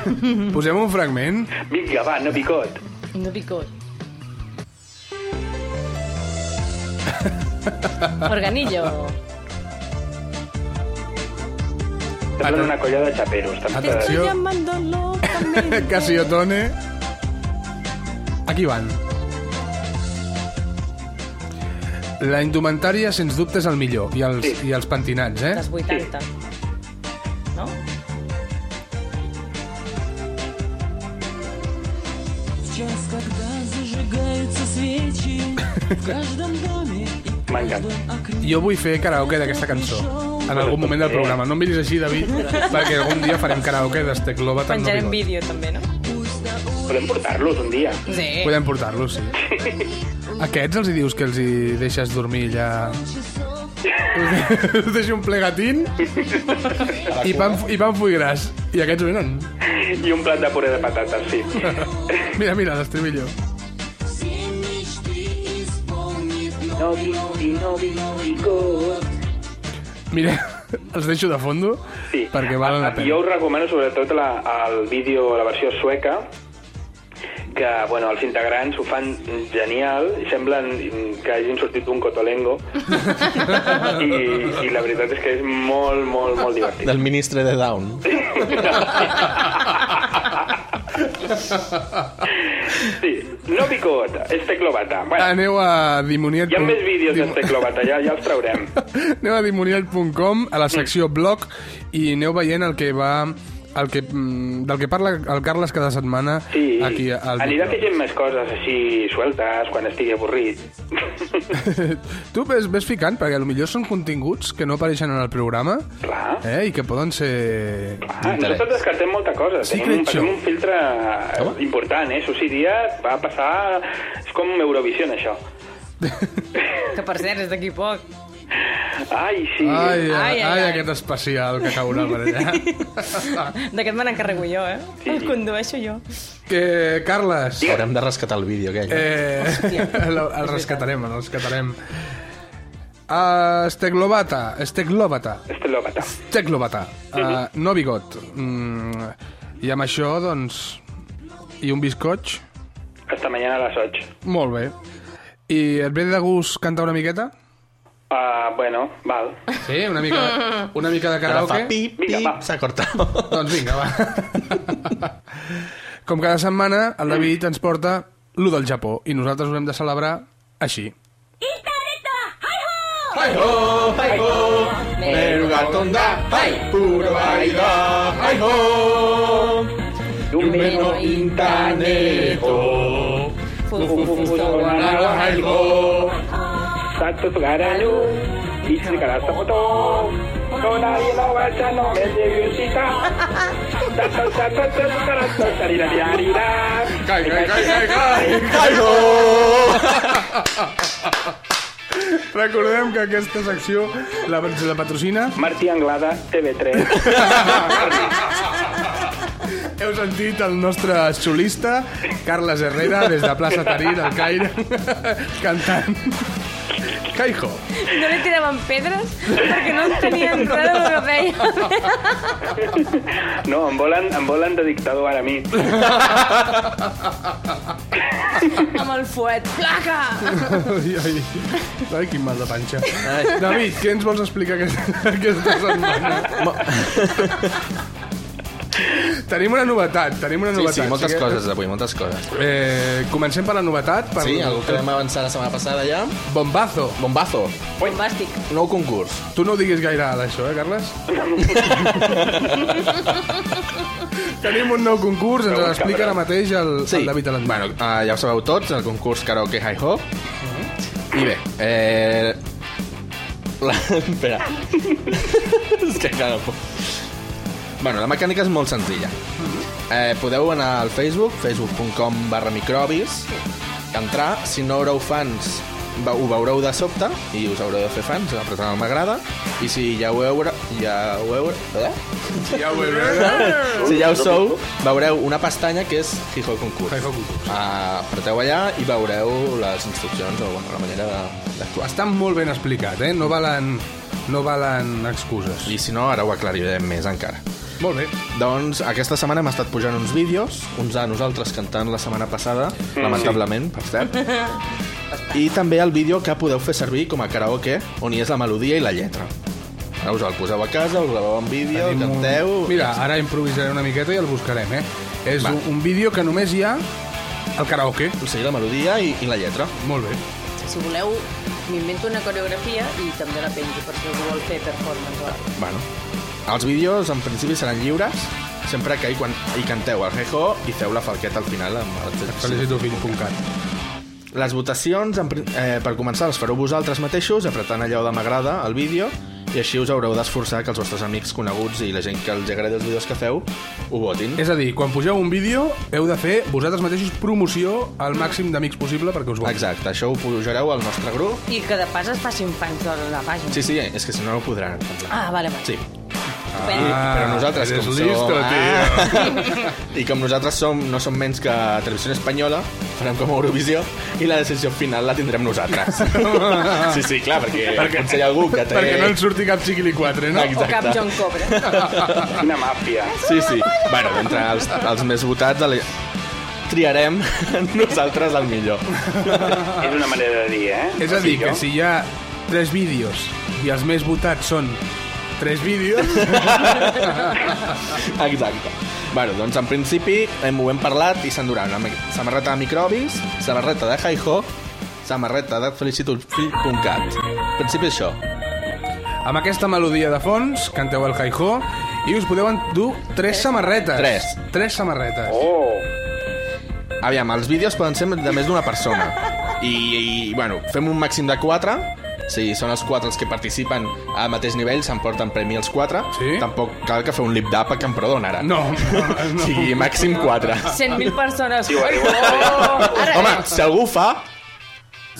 Speaker 4: [LAUGHS]
Speaker 3: Mm.
Speaker 1: Posem un fragment?
Speaker 4: Vinga, va, no picot.
Speaker 3: No picot. Organillo.
Speaker 4: Semblen una colla de xaperos. També t'ha de dir.
Speaker 3: llamando locamente.
Speaker 1: Casiotone. Aquí van. La indumentària, sens dubte, és el millor. I els, i els pentinats, eh?
Speaker 3: [LAUGHS] Dels 80. No?
Speaker 15: Сейчас, когда зажигаются свечи в каждом доме и
Speaker 4: M'encanta.
Speaker 1: Jo vull fer karaoke d'aquesta cançó. En algun moment
Speaker 3: eh.
Speaker 1: del programa. No em miris així,
Speaker 3: [LAUGHS]
Speaker 1: David, perquè algun dia farem karaoke d'Esteclova. tant no
Speaker 3: Penjarem
Speaker 1: bigot.
Speaker 3: vídeo, també, no?
Speaker 4: Podem portar-los un dia.
Speaker 3: Sí.
Speaker 1: Podem portar-lo,
Speaker 3: [LAUGHS]
Speaker 1: sí. Aquests els hi dius que els hi deixes dormir
Speaker 3: [LAUGHS]
Speaker 1: allà... Us deixo un plegatín i pan, i pan fuigràs. I aquests venen.
Speaker 4: I un plat de puré de patates, sí.
Speaker 1: Mira, mira, l'estribillo.
Speaker 4: [LAUGHS] No, vi- vi- no, vi- bigot.
Speaker 1: Mira, [LAUGHS] els deixo de fondo sí. perquè valen la pena.
Speaker 4: Ah, Jo us recomano sobretot la, el vídeo, la versió sueca, que, bueno, els integrants ho fan genial, semblen que hagin sortit d'un
Speaker 1: [LAUGHS]
Speaker 4: cotolengo, I, i la veritat és que és molt, molt, molt divertit.
Speaker 2: Del ministre de Down.
Speaker 4: Sí, no picot, és teclobata. Bueno,
Speaker 1: Ah, Aneu a
Speaker 4: hi ha
Speaker 1: dimoniat.com
Speaker 4: més vídeos de teclobata, ja, ja els traurem.
Speaker 1: [LAUGHS] Aneu a dimonial.com, a la
Speaker 4: Mm.
Speaker 1: secció blog, i aneu veient el que va... El que, mm, del que parla el Carles cada setmana
Speaker 4: Sí,
Speaker 1: aquí al
Speaker 4: anirà
Speaker 1: Blog.
Speaker 4: fent més coses així sueltes quan estigui avorrit.
Speaker 1: [LAUGHS] Tu ves, ves ficant, perquè potser són continguts que no apareixen en el programa
Speaker 4: Clar.
Speaker 1: eh, i que poden ser...
Speaker 4: Ah, nosaltres descartem molta cosa.
Speaker 1: Sí,
Speaker 4: tenim, un,
Speaker 1: crec jo.
Speaker 4: tenim un filtre important, eh? Susi Díaz va passar... És com Eurovision, això.
Speaker 3: Que, per cert, és d'aquí poc.
Speaker 4: Ai, sí.
Speaker 1: Ai, ai, ai,
Speaker 3: Ai, ai, ai.
Speaker 1: aquest especial que caurà per [LAUGHS] allà.
Speaker 3: D'aquest me n'encarrego jo, eh? El condueixo jo.
Speaker 1: que, Carles... [LAUGHS]
Speaker 2: Haurem de rescatar el vídeo aquell.
Speaker 1: Eh, el, el rescatarem, el rescatarem. Uh, Steglovata. Steglovata.
Speaker 4: Estelòpata.
Speaker 1: Steglovata. Uh, no bigot. Mm, I amb això, doncs... I un biscoig.
Speaker 4: Hasta mañana a las 8.
Speaker 1: Molt bé. I et ve de gust cantar una miqueta?
Speaker 4: Ah, bueno, val.
Speaker 1: Sí, una mica, una mica de
Speaker 4: Ara
Speaker 1: karaoke.
Speaker 4: fa pip, Vinga, pip, va.
Speaker 1: s'ha cortat. Doncs vinga, va. [LAUGHS] Com cada setmana, el David ens porta l'1 del Japó i nosaltres ho hem de celebrar així.
Speaker 15: ¡Ay-ho! ¡Ay-ho! tonda! ¡Ay! ¡Puro baida! ¡Ay-ho! ¡Yume no intanejo! ¡Fufufufufufuanara ay-ho!
Speaker 4: Sato Sugarayu, Ichi Karasamoto, Tonari no Wacha no Mende Yushita, Sato Sato Sato Karasamoto, Sarira Diarira,
Speaker 15: ¡Cai, cai, cai, cai, cai!
Speaker 1: Recordem que aquesta secció la, la patrocina...
Speaker 4: Martí Anglada, TV3.
Speaker 1: Heu sentit el nostre solista, Carles Herrera, des de Plaça Tarí, del Caire, [LAUGHS] cantant... Caijo.
Speaker 3: No li tiraven pedres perquè no
Speaker 2: [LAUGHS]
Speaker 3: entenien res del que feia.
Speaker 4: No, em volen, em volen de dictador ara a mi.
Speaker 3: Amb el fuet. Placa!
Speaker 1: Ai, ai, ai, quin mal de panxa. Ai. David, què ens vols explicar aquesta, aquesta setmana?
Speaker 2: [LAUGHS]
Speaker 1: tenim una novetat, tenim una
Speaker 2: Sí,
Speaker 1: novetat.
Speaker 2: sí, moltes
Speaker 1: que-
Speaker 2: coses avui, moltes coses.
Speaker 1: Eh, comencem per la novetat. Per...
Speaker 2: Sí, algú que vam avançar la setmana passada ja.
Speaker 1: Bombazo.
Speaker 2: Bombazo.
Speaker 3: Bombàstic.
Speaker 2: Nou concurs.
Speaker 1: Tu no ho diguis gaire alt, això, eh, Carles? Tenim un nou concurs, ens l'explica ara mateix el, sí. el David Alan.
Speaker 2: Bueno, eh, ja ho sabeu tots, el concurs Karaoke High Hop. I bé, eh... La... [LAUGHS] Espera. és que encara no puc. Bueno, la mecànica és molt senzilla. Eh, podeu anar al Facebook, facebook.com barra microbis, entrar, si no haureu fans ve- ho veureu de sobte i us haureu de fer fans, apretant el m'agrada i si ja ho veure, ja ho veure, eh?
Speaker 1: Ja ho veureu.
Speaker 2: si ja ho sou, veureu una pestanya que és Hijo Concurs. Hijo
Speaker 1: Concurs.
Speaker 2: Uh, apreteu allà i veureu les instruccions o bueno, la manera de- d'actuar.
Speaker 1: Està molt ben explicat, eh? No valen, no valen excuses.
Speaker 2: I si no, ara ho aclarirem més encara.
Speaker 1: Molt bé.
Speaker 2: Doncs aquesta setmana hem estat pujant uns vídeos, uns a nosaltres cantant la setmana passada,
Speaker 1: Mm.
Speaker 2: lamentablement, per cert. I també el vídeo que podeu fer servir com a karaoke, on hi és la melodia i la lletra. Ara us el poseu a casa, us graveu en vídeo,
Speaker 1: Tenim un-
Speaker 2: canteu...
Speaker 1: Mira, ara improvisaré una miqueta i el buscarem, eh? És
Speaker 2: Va.
Speaker 1: un, un vídeo que només hi ha al karaoke.
Speaker 2: Sí, la melodia i, i la lletra.
Speaker 1: Molt bé.
Speaker 3: Si voleu, m'invento una coreografia i també la penjo, per si algú vol fer performance o alguna cosa.
Speaker 2: Bueno, els vídeos en principi seran lliures, sempre que hi, quan, hi canteu el Hejo i feu la falqueta al final amb el
Speaker 1: felicitofill.cat.
Speaker 2: Les votacions, en, pri- eh, per començar, les fareu vosaltres mateixos, apretant allò de m'agrada al vídeo, i així us haureu d'esforçar que els vostres amics coneguts i la gent que els agradi els vídeos que feu ho votin.
Speaker 1: És a dir, quan pugeu un vídeo, heu de fer vosaltres mateixos promoció al màxim d'amics possible perquè us votin.
Speaker 2: Exacte, això ho pujareu al nostre grup.
Speaker 3: I que de pas es facin fans de la pàgina.
Speaker 2: Sí, sí, és que si no, no ho podran.
Speaker 3: Ah, vale, vale.
Speaker 2: Sí.
Speaker 3: Estupendo.
Speaker 1: Ah,
Speaker 2: Però nosaltres,
Speaker 1: eres
Speaker 2: com
Speaker 1: listo,
Speaker 2: som... [LAUGHS] I com nosaltres som, no som menys que Televisió Espanyola, farem com a Eurovisió, i la decisió final la tindrem
Speaker 1: [LAUGHS]
Speaker 2: nosaltres. sí, sí, clar, perquè, perquè potser hi ha algú que té...
Speaker 1: Perquè no en surti cap Chiquili 4, no?
Speaker 2: Exacte. O cap John
Speaker 3: Cobra.
Speaker 4: Quina màfia.
Speaker 2: Sí, sí. Bueno, entre els, els més votats el... triarem [LAUGHS] nosaltres el millor.
Speaker 4: És una manera de dir, eh?
Speaker 1: És a dir,
Speaker 4: Millor.
Speaker 1: que si hi ha tres vídeos i els més votats són tres
Speaker 2: [LAUGHS]
Speaker 1: vídeos...
Speaker 2: Exacte. Bueno, doncs en principi hem, ho hem parlat i s'enduran la mi- samarreta de microbis, samarreta de hi-ho, samarreta de felicitudfill.cat. En principi això.
Speaker 1: amb aquesta melodia de fons, canteu el hi-ho i us podeu endur tres samarretes.
Speaker 2: Tres.
Speaker 1: Tres samarretes.
Speaker 4: Oh!
Speaker 2: Aviam, els vídeos poden ser de més d'una persona. I, I, bueno, fem un màxim de quatre. Si són els quatre els que participen al mateix nivell, s'emporten premi els quatre. Sí? Tampoc cal que feu un lip d'ap a Camprodon, ara.
Speaker 1: No, no,
Speaker 2: no. Sí, màxim quatre.
Speaker 3: 100.000 persones. Oh!
Speaker 2: Sí, vale, vale.
Speaker 3: Ara,
Speaker 2: Home, si algú fa...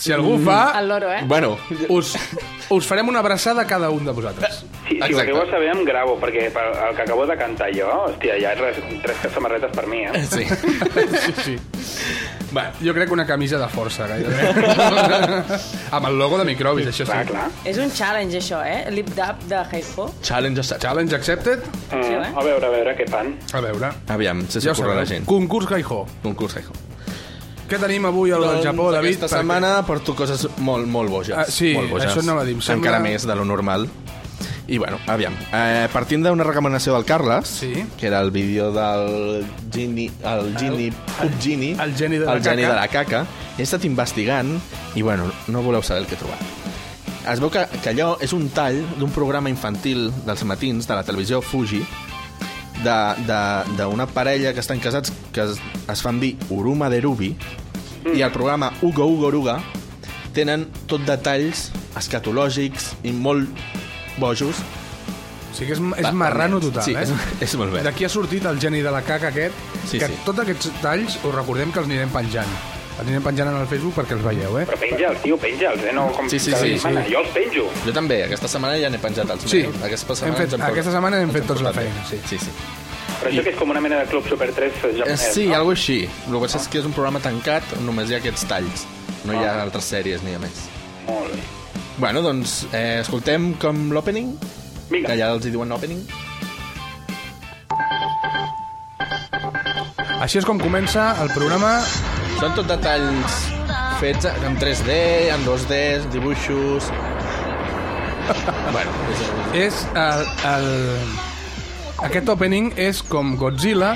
Speaker 1: Si algú fa...
Speaker 3: El loro, eh?
Speaker 2: Bueno,
Speaker 1: us, us farem una abraçada a cada un de vosaltres.
Speaker 4: Si, si ho acabo de saber, em gravo, perquè pel- el que acabo de
Speaker 1: [LAUGHS]
Speaker 4: cantar jo, hòstia, hi ha res, tres samarretes per mi, eh?
Speaker 2: [LAUGHS] Sí.
Speaker 1: sí, sí. Va, jo crec que una camisa de força, gairebé. [LAUGHS] Amb el logo de microbis, això sí. Clar, clar.
Speaker 3: És un challenge, això, eh? Lip-dub de Heipo.
Speaker 2: Challenge accepted.
Speaker 1: Challenge accepted.
Speaker 3: Mm, Sí, eh?
Speaker 4: a veure, a veure què fan.
Speaker 1: A veure.
Speaker 2: Aviam, se
Speaker 1: Ja ho
Speaker 2: s'ocorre la
Speaker 1: sabeu.
Speaker 2: gent.
Speaker 1: Concurs Gaijó.
Speaker 2: Concurs Heiho.
Speaker 1: Què tenim avui al Japó, David?
Speaker 2: Doncs Aquesta
Speaker 1: Perquè-
Speaker 2: setmana porto coses molt, molt boges.
Speaker 1: Ah, sí,
Speaker 2: molt boges.
Speaker 1: això anava a dir, em sembla-
Speaker 2: Encara més de lo normal. I bueno, aviam. Eh, partint d'una recomanació del Carles, sí. que era el vídeo del Gini... El Gini... El, Gini, el
Speaker 1: geni de la
Speaker 2: el geni
Speaker 1: caca.
Speaker 2: de la caca. He estat investigant i, bueno, no voleu saber el que he trobat. Es veu que, que allò és un tall d'un programa infantil dels matins de la televisió Fuji de- de- d'una parella que estan casats que es, es fan dir Uruma de Rubi i el programa Ugo Ugo Uruga tenen tot detalls escatològics i molt bojos.
Speaker 1: O sigui que és, és marrano total,
Speaker 2: sí,
Speaker 1: eh?
Speaker 2: És, és molt bé.
Speaker 1: D'aquí ha sortit el geni de la caca aquest,
Speaker 2: Sí,
Speaker 1: que
Speaker 2: sí.
Speaker 1: tots aquests talls us recordem que els anirem penjant. Els anirem penjant en el Facebook perquè els veieu, eh?
Speaker 4: Però penja'ls, tio, penja'ls, eh? No, com
Speaker 2: Sí, sí,
Speaker 4: cada
Speaker 2: sí,
Speaker 4: setmana.
Speaker 2: sí.
Speaker 4: Jo els penjo.
Speaker 2: Jo també, aquesta setmana ja n'he penjat els
Speaker 1: Sí.
Speaker 2: meus. Aquesta
Speaker 1: Hem
Speaker 2: setmana,
Speaker 1: fet,
Speaker 2: ens hem portat-
Speaker 1: aquesta setmana hem fet tots la
Speaker 2: portat bé.
Speaker 1: feina, sí.
Speaker 2: Sí, sí.
Speaker 4: Però això que és com una mena de Club Super 3
Speaker 2: Eh,
Speaker 4: japonès,
Speaker 2: sí,
Speaker 4: no?
Speaker 2: algo així. El que passa és que és un programa tancat on només hi ha aquests talls. No hi ha altres sèries ni a més.
Speaker 4: Molt bé.
Speaker 2: Bueno, doncs, eh, escoltem com l'opening. Vinga. Que ja els hi diuen l'opening.
Speaker 1: Així és com comença el programa...
Speaker 2: Són tot detalls fets en 3D, en 2D, dibuixos... bueno, és...
Speaker 1: És el, el... Aquest opening és com Godzilla,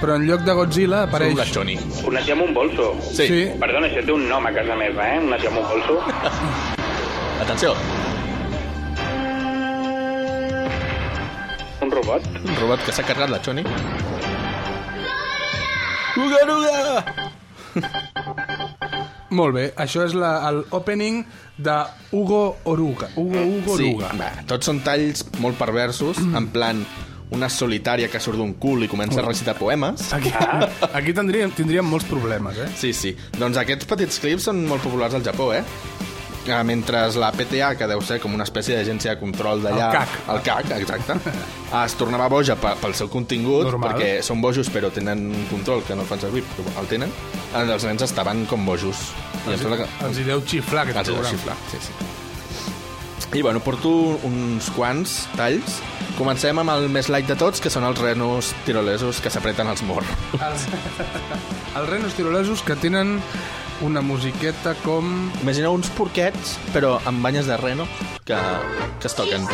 Speaker 1: però en lloc de Godzilla apareix...
Speaker 2: un lachoni.
Speaker 4: Un nazi amb un bolso.
Speaker 1: Sí. Sí.
Speaker 4: Perdona, això té un nom a casa meva, eh? Un nazi amb un
Speaker 2: [LAUGHS]
Speaker 4: bolso.
Speaker 2: Atenció.
Speaker 4: Un robot.
Speaker 2: Un robot que s'ha carregat la Choni. Uga, uga!
Speaker 1: Molt bé, això és la, el opening de Hugo Oruga. Hugo, Hugo
Speaker 2: Sí,
Speaker 1: Oruga.
Speaker 2: va, tots són talls molt perversos, en plan una solitària que surt d'un cul i comença a recitar poemes.
Speaker 1: Aquí, aquí tindríem, tindríem molts problemes, eh?
Speaker 2: Sí, sí. Doncs aquests petits clips són molt populars al Japó, eh? Eh, Mentre la PTA, que deu ser com una espècie d'agència de control d'allà...
Speaker 1: El CAC.
Speaker 2: El CAC,
Speaker 1: [LAUGHS]
Speaker 2: exacte. Ah, es tornava boja pe- pel seu contingut,
Speaker 1: Normal.
Speaker 2: perquè són bojos però tenen un control que no el fan servir, però el tenen. Eh, Els nens estaven com bojos. I em
Speaker 1: Els,
Speaker 2: sembla que...
Speaker 1: els hi deu xiflar Ah, aquest
Speaker 2: Els hi deu
Speaker 1: programa.
Speaker 2: xiflar, sí, sí. I bueno, porto uns quants talls. Comencem amb el més light de tots, que són els renos tirolesos que s'apreten els morros.
Speaker 1: Els, els renos tirolesos que tenen una musiqueta com...
Speaker 2: Imagineu uns porquets, però amb banyes de reno, que, que es toquen.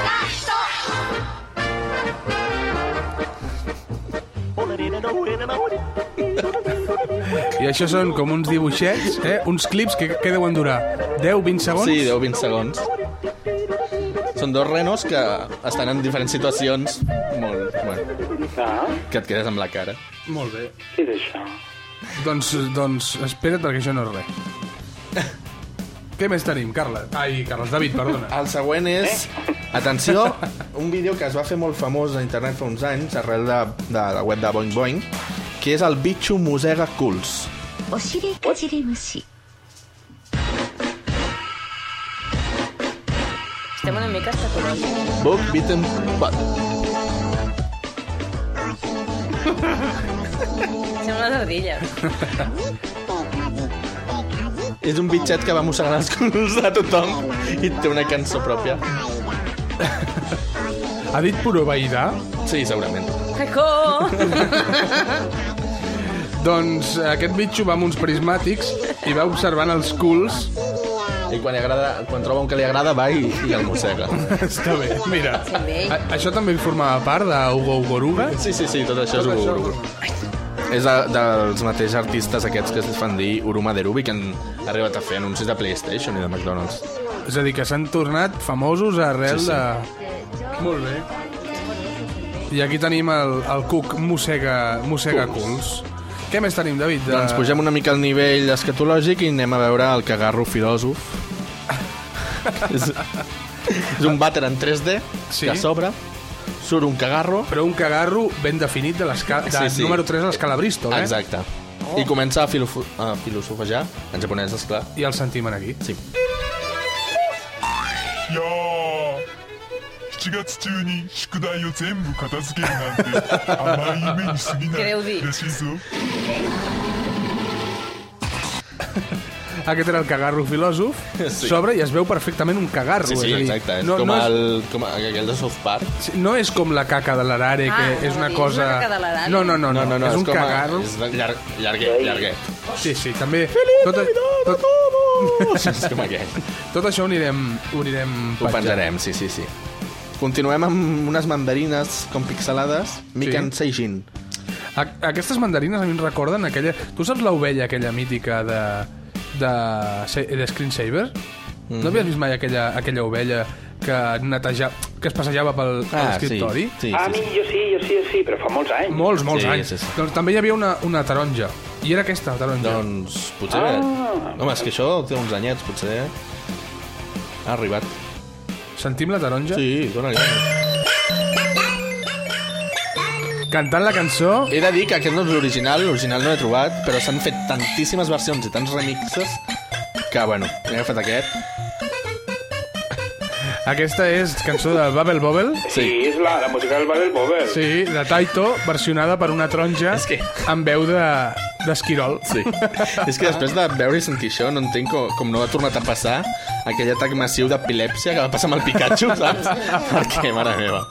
Speaker 1: I això són com uns dibuixets, eh? uns clips que, que deuen durar 10-20 segons.
Speaker 2: Sí, 10-20 segons. Són dos renos que estan en diferents situacions molt... Bueno,
Speaker 4: Ah,
Speaker 2: que et quedes amb la cara.
Speaker 1: Molt bé.
Speaker 4: què és això?
Speaker 1: Doncs, doncs espera't perquè això no és res. [LAUGHS] Què més tenim, Carles? Ai, Carles, David, perdona.
Speaker 2: El següent és... Atenció, un vídeo que es va fer molt famós a internet fa uns anys, arrel de, de la web de Boing Boing, que és el bitxo mosega culs.
Speaker 16: おしりかじり虫
Speaker 3: Estem una mica escacològics.
Speaker 2: Book Beaten Butt.
Speaker 3: Semblen les ardilles.
Speaker 2: És un bitxet que va mossegar els culs de tothom i té una cançó pròpia.
Speaker 1: [LAUGHS] Ha dit puro vaidà?
Speaker 2: Sí, segurament.
Speaker 3: Cacó!
Speaker 1: Doncs eh, aquest bitxo va amb uns prismàtics i va observant els culs.
Speaker 2: I quan, li agrada, quan troba un que li agrada va i, i el mossega.
Speaker 1: [LAUGHS] Està bé, mira.
Speaker 3: bé.
Speaker 1: A, això també formava part de Hugo Ugoruga?
Speaker 2: Sí, sí, sí, tot això és
Speaker 1: Tot això-
Speaker 2: Uruma. És de, dels mateixos artistes aquests que es fan dir Uruma Derubi, que han arribat a fer anuncis de PlayStation i de McDonald's.
Speaker 1: És a dir, que s'han tornat famosos arrel
Speaker 2: Sí, sí.
Speaker 1: de... Molt bé. I aquí tenim el, el cuc mossega, mossega culs. Què més tenim, David?
Speaker 2: Doncs pugem una mica al nivell escatològic i anem a veure el cagarro filòsof. [LAUGHS] és, és un vàter en 3D
Speaker 1: Sí.
Speaker 2: sí. que s'obre, surt un cagarro...
Speaker 1: Però un cagarro ben definit de,
Speaker 2: [LAUGHS]
Speaker 1: l'esca- de
Speaker 2: Sí, sí.
Speaker 1: número 3 a l'escala Bristol, eh?
Speaker 2: Exacte.
Speaker 1: Oh.
Speaker 2: I comença a, filofo- a filosofejar, en japonès, esclar.
Speaker 1: I el sentim aquí.
Speaker 2: Sí.
Speaker 17: いやー7月中に宿題を全部片付けるなんて甘い夢に過ぎないらしいぞ
Speaker 1: Aquest era el cagarro filòsof.
Speaker 2: [LAUGHS] Sí.
Speaker 1: Sobre i es veu perfectament un cagarro.
Speaker 2: Sí, sí,
Speaker 1: és a dir,
Speaker 2: exacte. És
Speaker 1: no,
Speaker 2: com,
Speaker 1: no, és,
Speaker 2: el, com aquell de South Park.
Speaker 1: Sí, no és com la caca de l'arare,
Speaker 2: Ah,
Speaker 1: que és una
Speaker 2: anava a dir,
Speaker 1: cosa...
Speaker 2: és una caca de l'arare.
Speaker 1: no, no, no, no,
Speaker 2: No, no, no,
Speaker 1: és
Speaker 2: és
Speaker 1: un
Speaker 2: com a-
Speaker 1: cagarro.
Speaker 2: és llar- llarguet, [LAUGHS] llarguet.
Speaker 1: Sí, sí, també... Feliz tot, Navidad tot... a
Speaker 2: todos! és com aquest.
Speaker 1: Tot això ho anirem... Ho, anirem
Speaker 2: Ho penjarem, sí, sí, sí. Continuem amb unes mandarines com pixelades. Mikan sí. Seijin.
Speaker 1: A aquestes mandarines a mi em recorden aquella... Tu saps l'ovella aquella mítica de, de, se- de Screensaver?
Speaker 4: Mhm.
Speaker 1: Mm -hmm. No havies vist mai aquella, aquella ovella que, neteja, que es passejava pel
Speaker 4: Ah,
Speaker 1: ah, escriptori?
Speaker 4: sí, sí, Ah, a mi, jo sí, jo sí, jo sí, però fa molts anys.
Speaker 1: Molts, molts
Speaker 4: Sí,
Speaker 1: anys.
Speaker 4: sí, sí.
Speaker 1: Doncs també hi havia una, una taronja. I era aquesta, taronja.
Speaker 2: Doncs Potser... Ah. Home, és que això té uns anyets, potser. Ha arribat.
Speaker 4: Doncs-
Speaker 1: Sentim la taronja?
Speaker 2: Sí, dona-li.
Speaker 1: Cantant la cançó...
Speaker 2: He de dir que aquest no és l'original, l'original no l'he trobat, però s'han fet tantíssimes versions i tants remixes que, bueno, he agafat aquest.
Speaker 1: Aquesta és cançó de Babel Bobel.
Speaker 4: Sí, és la, la música del Babel Bobel.
Speaker 1: Sí, de Taito, versionada per una taronja que... amb veu de- d'esquirol.
Speaker 2: Sí. [LAUGHS] És que després de veure i sentir això, no entenc com, com no ha tornat a passar aquell atac massiu d'epilèpsia que va passar amb el Pikachu, saps? Perquè, mare meva.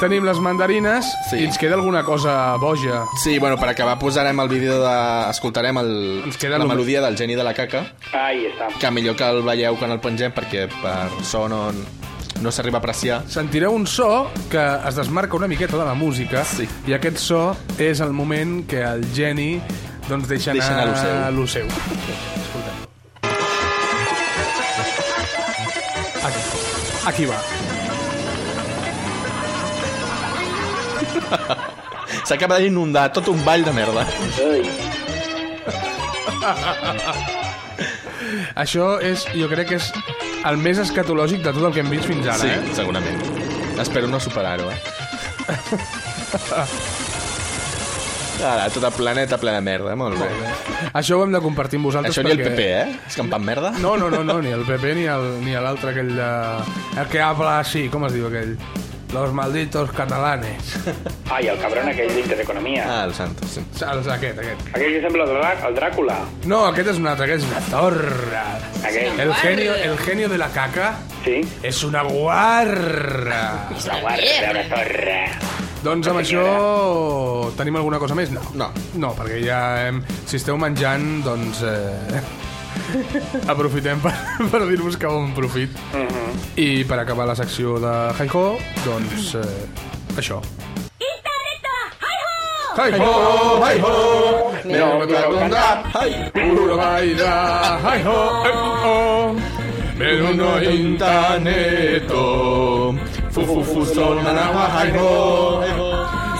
Speaker 1: Tenim les mandarines sí. i ens queda alguna cosa boja.
Speaker 2: Sí, bueno, per acabar posarem el vídeo de... Escoltarem el,
Speaker 1: queda
Speaker 2: la
Speaker 1: només-
Speaker 2: melodia del geni de la caca,
Speaker 4: Ahí està.
Speaker 2: que millor que el veieu quan el pengem, perquè per so no, no s'arriba a apreciar.
Speaker 1: Sentireu un so que es desmarca una miqueta de la música sí. i aquest so és el moment que el geni doncs, deixa
Speaker 2: Deixa
Speaker 1: anar,
Speaker 2: anar
Speaker 1: lo seu. Escolteu. Aquí, aquí va.
Speaker 2: S'acaba d'inundar tot un ball de merda.
Speaker 1: Això és, jo crec que és el més escatològic de tot el que hem vist fins ara.
Speaker 2: sí,
Speaker 1: eh?
Speaker 2: segurament. Espero no superar-ho, eh? Ara, tot el planeta ple de merda, molt bé.
Speaker 1: Això ho hem de compartir amb vosaltres
Speaker 2: Això ni el
Speaker 1: perquè-
Speaker 2: PP, eh? És campant merda?
Speaker 1: No, no, no, no, ni el PP ni el- ni l'altre aquell de... El que habla així, com es diu aquell? Los malditos catalanes.
Speaker 4: Ai, el cabron aquell d'Intereconomia.
Speaker 2: Ah, el Santos, sí.
Speaker 1: Els, aquest, aquest.
Speaker 4: Aquell que sembla el, Drà- el Dràcula.
Speaker 1: No, aquest és un altre, aquest és una torra.
Speaker 4: Aquell.
Speaker 1: El genio, el genio de la caca
Speaker 4: sí.
Speaker 1: és una guarra. És
Speaker 4: una guarra, una torra.
Speaker 1: Doncs amb això tenim alguna cosa més? No.
Speaker 2: No.
Speaker 1: No, perquè ja hem... Si esteu menjant, doncs... Eh... Aprofitem per, per dir-vos que bon profit. Mm -hmm. I per acabar la secció de Hi-Ho, doncs... Eh, això.
Speaker 2: Oh,
Speaker 1: Hi-Ho! Hi-Ho! Mira, una pregunta. Hi-Ho! Hi-Ho! Hi-Ho!
Speaker 2: Meruno intaneto Fufufu sonanawa haibo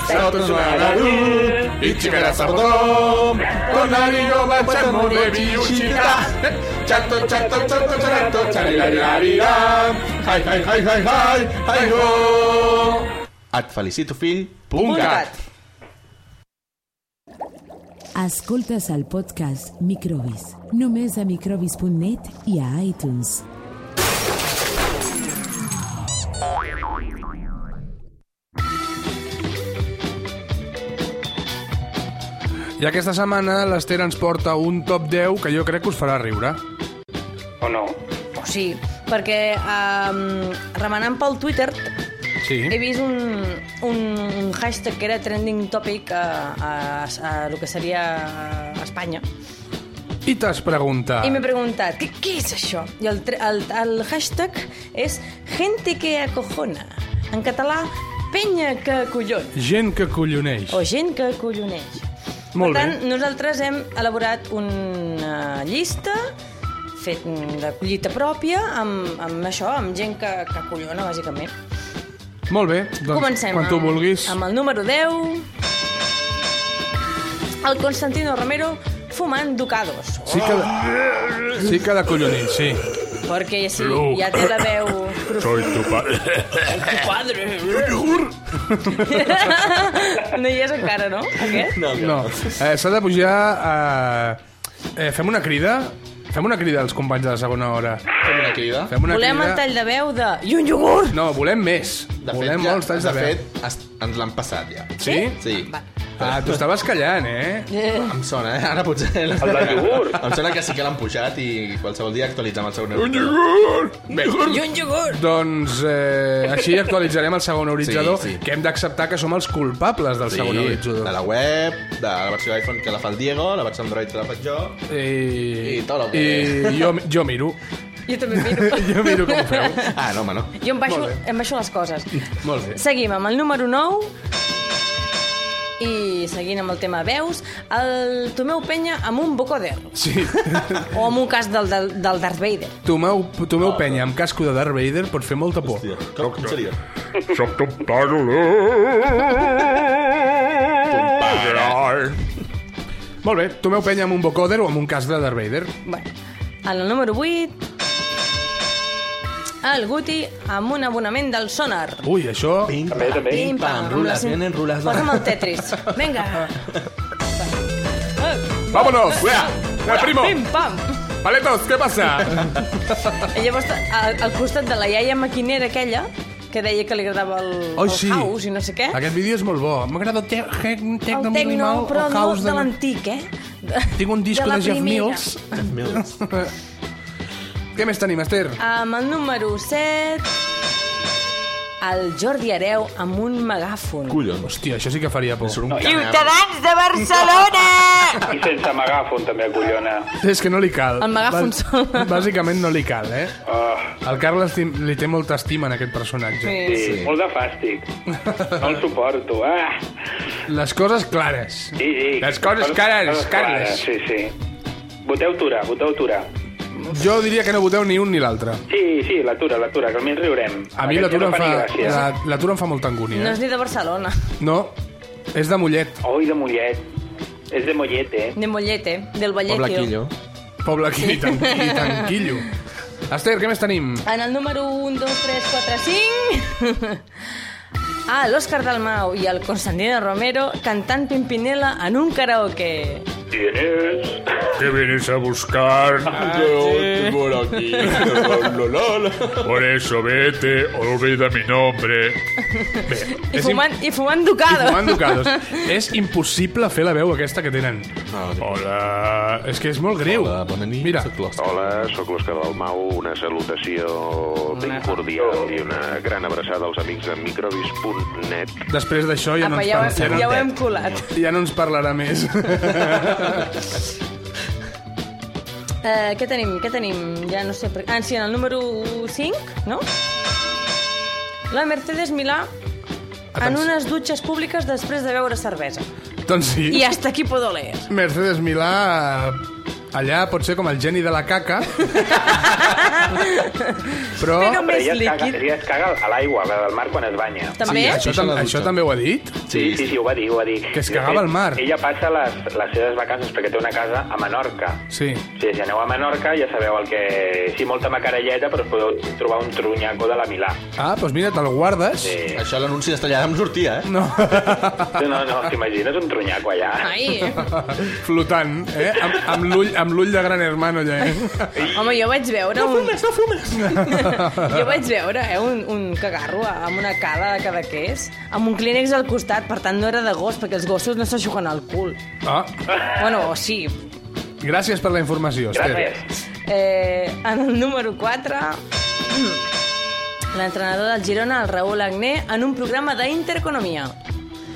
Speaker 2: Sato sonararu Ichikara sardo Tonari yo bachamo bebi uchita Chato chato chato chato Charirarira Hai hai hai hai hai Hai ho Et felicito fill Punt gat
Speaker 7: Escoltes el podcast Microbis. Només a microbis.net i a iTunes.
Speaker 1: I aquesta setmana l'Ester ens porta un top 10 que jo crec que us farà riure.
Speaker 4: O no?
Speaker 3: Sí, perquè um, remenant pel Twitter
Speaker 1: Sí.
Speaker 3: he vist un, un, un hashtag que era trending topic a, a, a, a lo que seria Espanya.
Speaker 1: I t'has preguntat...
Speaker 3: I m'he preguntat, què, què és això? I el, tre- el, el hashtag és gente que acojona. En català, penya que collona.
Speaker 1: Gent que colloneix.
Speaker 3: O gent que colloneix.
Speaker 1: Molt
Speaker 3: per
Speaker 1: bé.
Speaker 3: tant, nosaltres hem elaborat una llista fet de collita pròpia amb, amb això, amb gent que, que collona, bàsicament.
Speaker 1: Molt bé, doncs
Speaker 3: Comencem
Speaker 1: quan tu
Speaker 3: amb,
Speaker 1: vulguis.
Speaker 3: amb el número 10. El Constantino Romero fumant ducados.
Speaker 1: Sí que, de... sí que de collonir, sí.
Speaker 3: Perquè ja, sí,
Speaker 1: Lu.
Speaker 3: ja té la veu...
Speaker 1: Soy tu padre.
Speaker 3: Tu padre. [LAUGHS] no hi és encara, no? Aquest?
Speaker 1: No, eh, s'ha de pujar a... Eh, fem una crida? Fem una crida als companys de la segona hora.
Speaker 2: Fem una crida
Speaker 1: Fem una
Speaker 3: Volem
Speaker 1: crida...
Speaker 3: el tall de veu de... I un iogurt!
Speaker 1: No, volem més.
Speaker 2: De fet,
Speaker 1: volem
Speaker 2: ja,
Speaker 1: molts talls de,
Speaker 2: de
Speaker 1: veu.
Speaker 2: fet, es- ens l'han passat ja.
Speaker 1: Sí?
Speaker 2: Sí.
Speaker 1: Ah, tu estaves callant, eh?
Speaker 2: Em sona, eh? Ara potser...
Speaker 4: El del iogurt.
Speaker 2: Em sona que sí que l'han pujat i qualsevol dia actualitzem el segon euro. Bé,
Speaker 3: I un iogurt!
Speaker 1: Doncs eh, així actualitzarem el segon horitzador,
Speaker 2: Sí, sí.
Speaker 1: que hem d'acceptar que som els culpables del
Speaker 2: Sí,
Speaker 1: segon horitzador.
Speaker 2: de la web, de la versió d'iPhone que la fa el Diego, la versió Android que la faig jo...
Speaker 1: [LAUGHS] I,
Speaker 2: I tot el que-
Speaker 1: I jo, jo miro.
Speaker 3: Jo també miro.
Speaker 1: [LAUGHS] jo miro com ho
Speaker 2: [LAUGHS]
Speaker 1: feu.
Speaker 2: Ah, no, home, no.
Speaker 3: Jo em baixo,
Speaker 1: Molt bé.
Speaker 3: em baixo les coses.
Speaker 1: Molt bé.
Speaker 3: Seguim amb el número 9 i seguint amb el tema veus, el Tomeu Penya amb un bocoder.
Speaker 1: Sí.
Speaker 3: O amb un cas del, del, del Darth Vader.
Speaker 1: Tomeu, Tomeu Penya amb casco de Darth Vader pot fer molta por. Hòstia,
Speaker 2: com, com seria?
Speaker 1: Soc ton pare. Molt bé, Tomeu Penya amb un vocoder o amb un cas de Darth Vader.
Speaker 3: Bueno, en el número 8, el Guti amb un abonament del Sonar.
Speaker 1: Ui, això... Pim,
Speaker 4: També, també.
Speaker 3: Pim, pam, rules,
Speaker 2: vienen rules.
Speaker 3: Posa'm el Tetris.
Speaker 1: [LAUGHS]
Speaker 3: Vinga.
Speaker 1: Vámonos, fuera, fuera, primo.
Speaker 3: Pim, pam.
Speaker 1: Paletos, què passa?
Speaker 3: I llavors, al, al costat de la iaia maquinera aquella, que deia que li agradava el,
Speaker 1: Oh,
Speaker 3: el
Speaker 1: sí.
Speaker 3: house i no sé què.
Speaker 1: Aquest vídeo és molt bo. M'agrada el tec...
Speaker 3: el tecno, però no de l'antic, eh?
Speaker 1: Tinc un disco
Speaker 3: de la
Speaker 1: de, Jeff
Speaker 3: primera.
Speaker 1: Mills. [LAUGHS] Què més tenim, Esther?
Speaker 3: Amb el número 7, el Jordi Areu amb un megàfon.
Speaker 2: Collons.
Speaker 1: Hòstia, això sí que faria por.
Speaker 2: Un
Speaker 3: Ciutadans de Barcelona!
Speaker 4: I sense megàfon, també, collona.
Speaker 1: És que no li cal.
Speaker 3: El megàfon
Speaker 1: Bàs-
Speaker 3: sol.
Speaker 1: [LAUGHS] Bàsicament no li cal, eh?
Speaker 4: Ah,
Speaker 1: El Carles tim- li té molta estima en aquest personatge.
Speaker 4: sí, molt de fàstic. No el suporto. Ah,
Speaker 1: Les coses clares.
Speaker 4: sí, sí.
Speaker 1: Les coses cares, Carles.
Speaker 4: Sí, sí. Voteu Tura, voteu Tura.
Speaker 1: Jo diria que no voteu ni un ni l'altre.
Speaker 4: Sí, sí, la Tura, la Tura, que almenys riurem.
Speaker 1: A mi
Speaker 4: Aquest
Speaker 1: l'atura
Speaker 4: ja
Speaker 1: em,
Speaker 4: no
Speaker 1: fa,
Speaker 4: ni gràcia.
Speaker 1: la- l'atura em fa molta angúnia.
Speaker 3: No
Speaker 1: Eh?
Speaker 3: és ni de Barcelona,
Speaker 1: No, és de Mollet.
Speaker 4: Oi, de Mollet. És de Mollet, eh?
Speaker 3: de Mollete, del Vallecchio.
Speaker 1: Poble Quillo i, tan,
Speaker 3: [LAUGHS]
Speaker 1: i Tanquillo. Esther, què més tenim?
Speaker 3: En el número 1, 2, 3, 4, 5... [LAUGHS] Ah, l'Òscar Dalmau i el Constantino Romero cantant Pimpinela en un karaoke.
Speaker 4: ¿Quién es?
Speaker 1: ¿Qué vienes a buscar?
Speaker 2: Yo por
Speaker 4: Eh.
Speaker 2: aquí.
Speaker 1: Por eso vete, olvida mi
Speaker 3: [LAUGHS]
Speaker 1: nombre. Bé,
Speaker 3: I
Speaker 1: és
Speaker 3: fumant, i fumant
Speaker 1: I
Speaker 3: ducado.
Speaker 1: fumant
Speaker 3: [LAUGHS]
Speaker 1: ducados. és impossible fer la veu aquesta que tenen. Hola. És que és molt greu. Hola, bona nit. Mira,
Speaker 18: Hola, sóc l'Òscar Dalmau, una salutació ben cordial i una gran abraçada als amics de microbis.net.
Speaker 1: després d'això ja,
Speaker 3: Apa,
Speaker 1: no ens
Speaker 3: ja,
Speaker 1: parla-
Speaker 3: ho, hem- ja ho hem colat.
Speaker 1: ja no ens parlarà més. [LAUGHS]
Speaker 3: Eh, què tenim? Què tenim? Ja no sé... Per... Ah, sí, en el número 5, no? La Mercedes Milà en
Speaker 1: Atenció.
Speaker 3: unes dutxes públiques després de beure cervesa.
Speaker 1: doncs sí.
Speaker 3: I hasta aquí puedo leer.
Speaker 1: Mercedes Milà allà pot ser com el geni de la
Speaker 3: [LAUGHS]
Speaker 1: caca. però...
Speaker 3: Però
Speaker 4: Però
Speaker 3: més
Speaker 4: ella es, caga,
Speaker 3: líquid.
Speaker 4: ella es caga a l'aigua, la del mar, quan es banya.
Speaker 3: També?
Speaker 1: Sí, això, tam això també ho ha dit?
Speaker 4: Sí, sí, sí, ho va dir, ho va dir.
Speaker 1: Que es
Speaker 4: I de
Speaker 1: cagava
Speaker 4: fet,
Speaker 1: al mar.
Speaker 4: Ella passa les, les seves vacances perquè té una casa a Menorca.
Speaker 1: Sí.
Speaker 4: Sí, si aneu a Menorca ja sabeu el que... Sí, molta macarelleta, però us podeu trobar un trunyaco de la Milà.
Speaker 1: Ah, doncs mira, te'l guardes.
Speaker 4: Sí.
Speaker 2: Això l'anunci d'Estellada em sortia, eh?
Speaker 1: No.
Speaker 4: No, no, t'imagines un trunyaco allà?
Speaker 1: [LAUGHS]
Speaker 3: Ai,
Speaker 1: [LAUGHS] Flotant, eh? Amb, amb l'ull amb l'ull de gran hermano allà. eh?
Speaker 3: home, jo vaig veure un...
Speaker 2: no fumes!
Speaker 3: Jo vaig veure eh, un, un cagarro amb una cala de cadaqués, amb un clínex al costat, per tant no era de gos, perquè els gossos no s'aixuguen al cul.
Speaker 1: Ah,
Speaker 3: Bueno, o sí.
Speaker 1: gràcies per la informació, Esther.
Speaker 3: Eh, en el número 4, [CLEARS THROAT] l'entrenador del Girona, el Raül Agné, en un programa d'Intereconomia.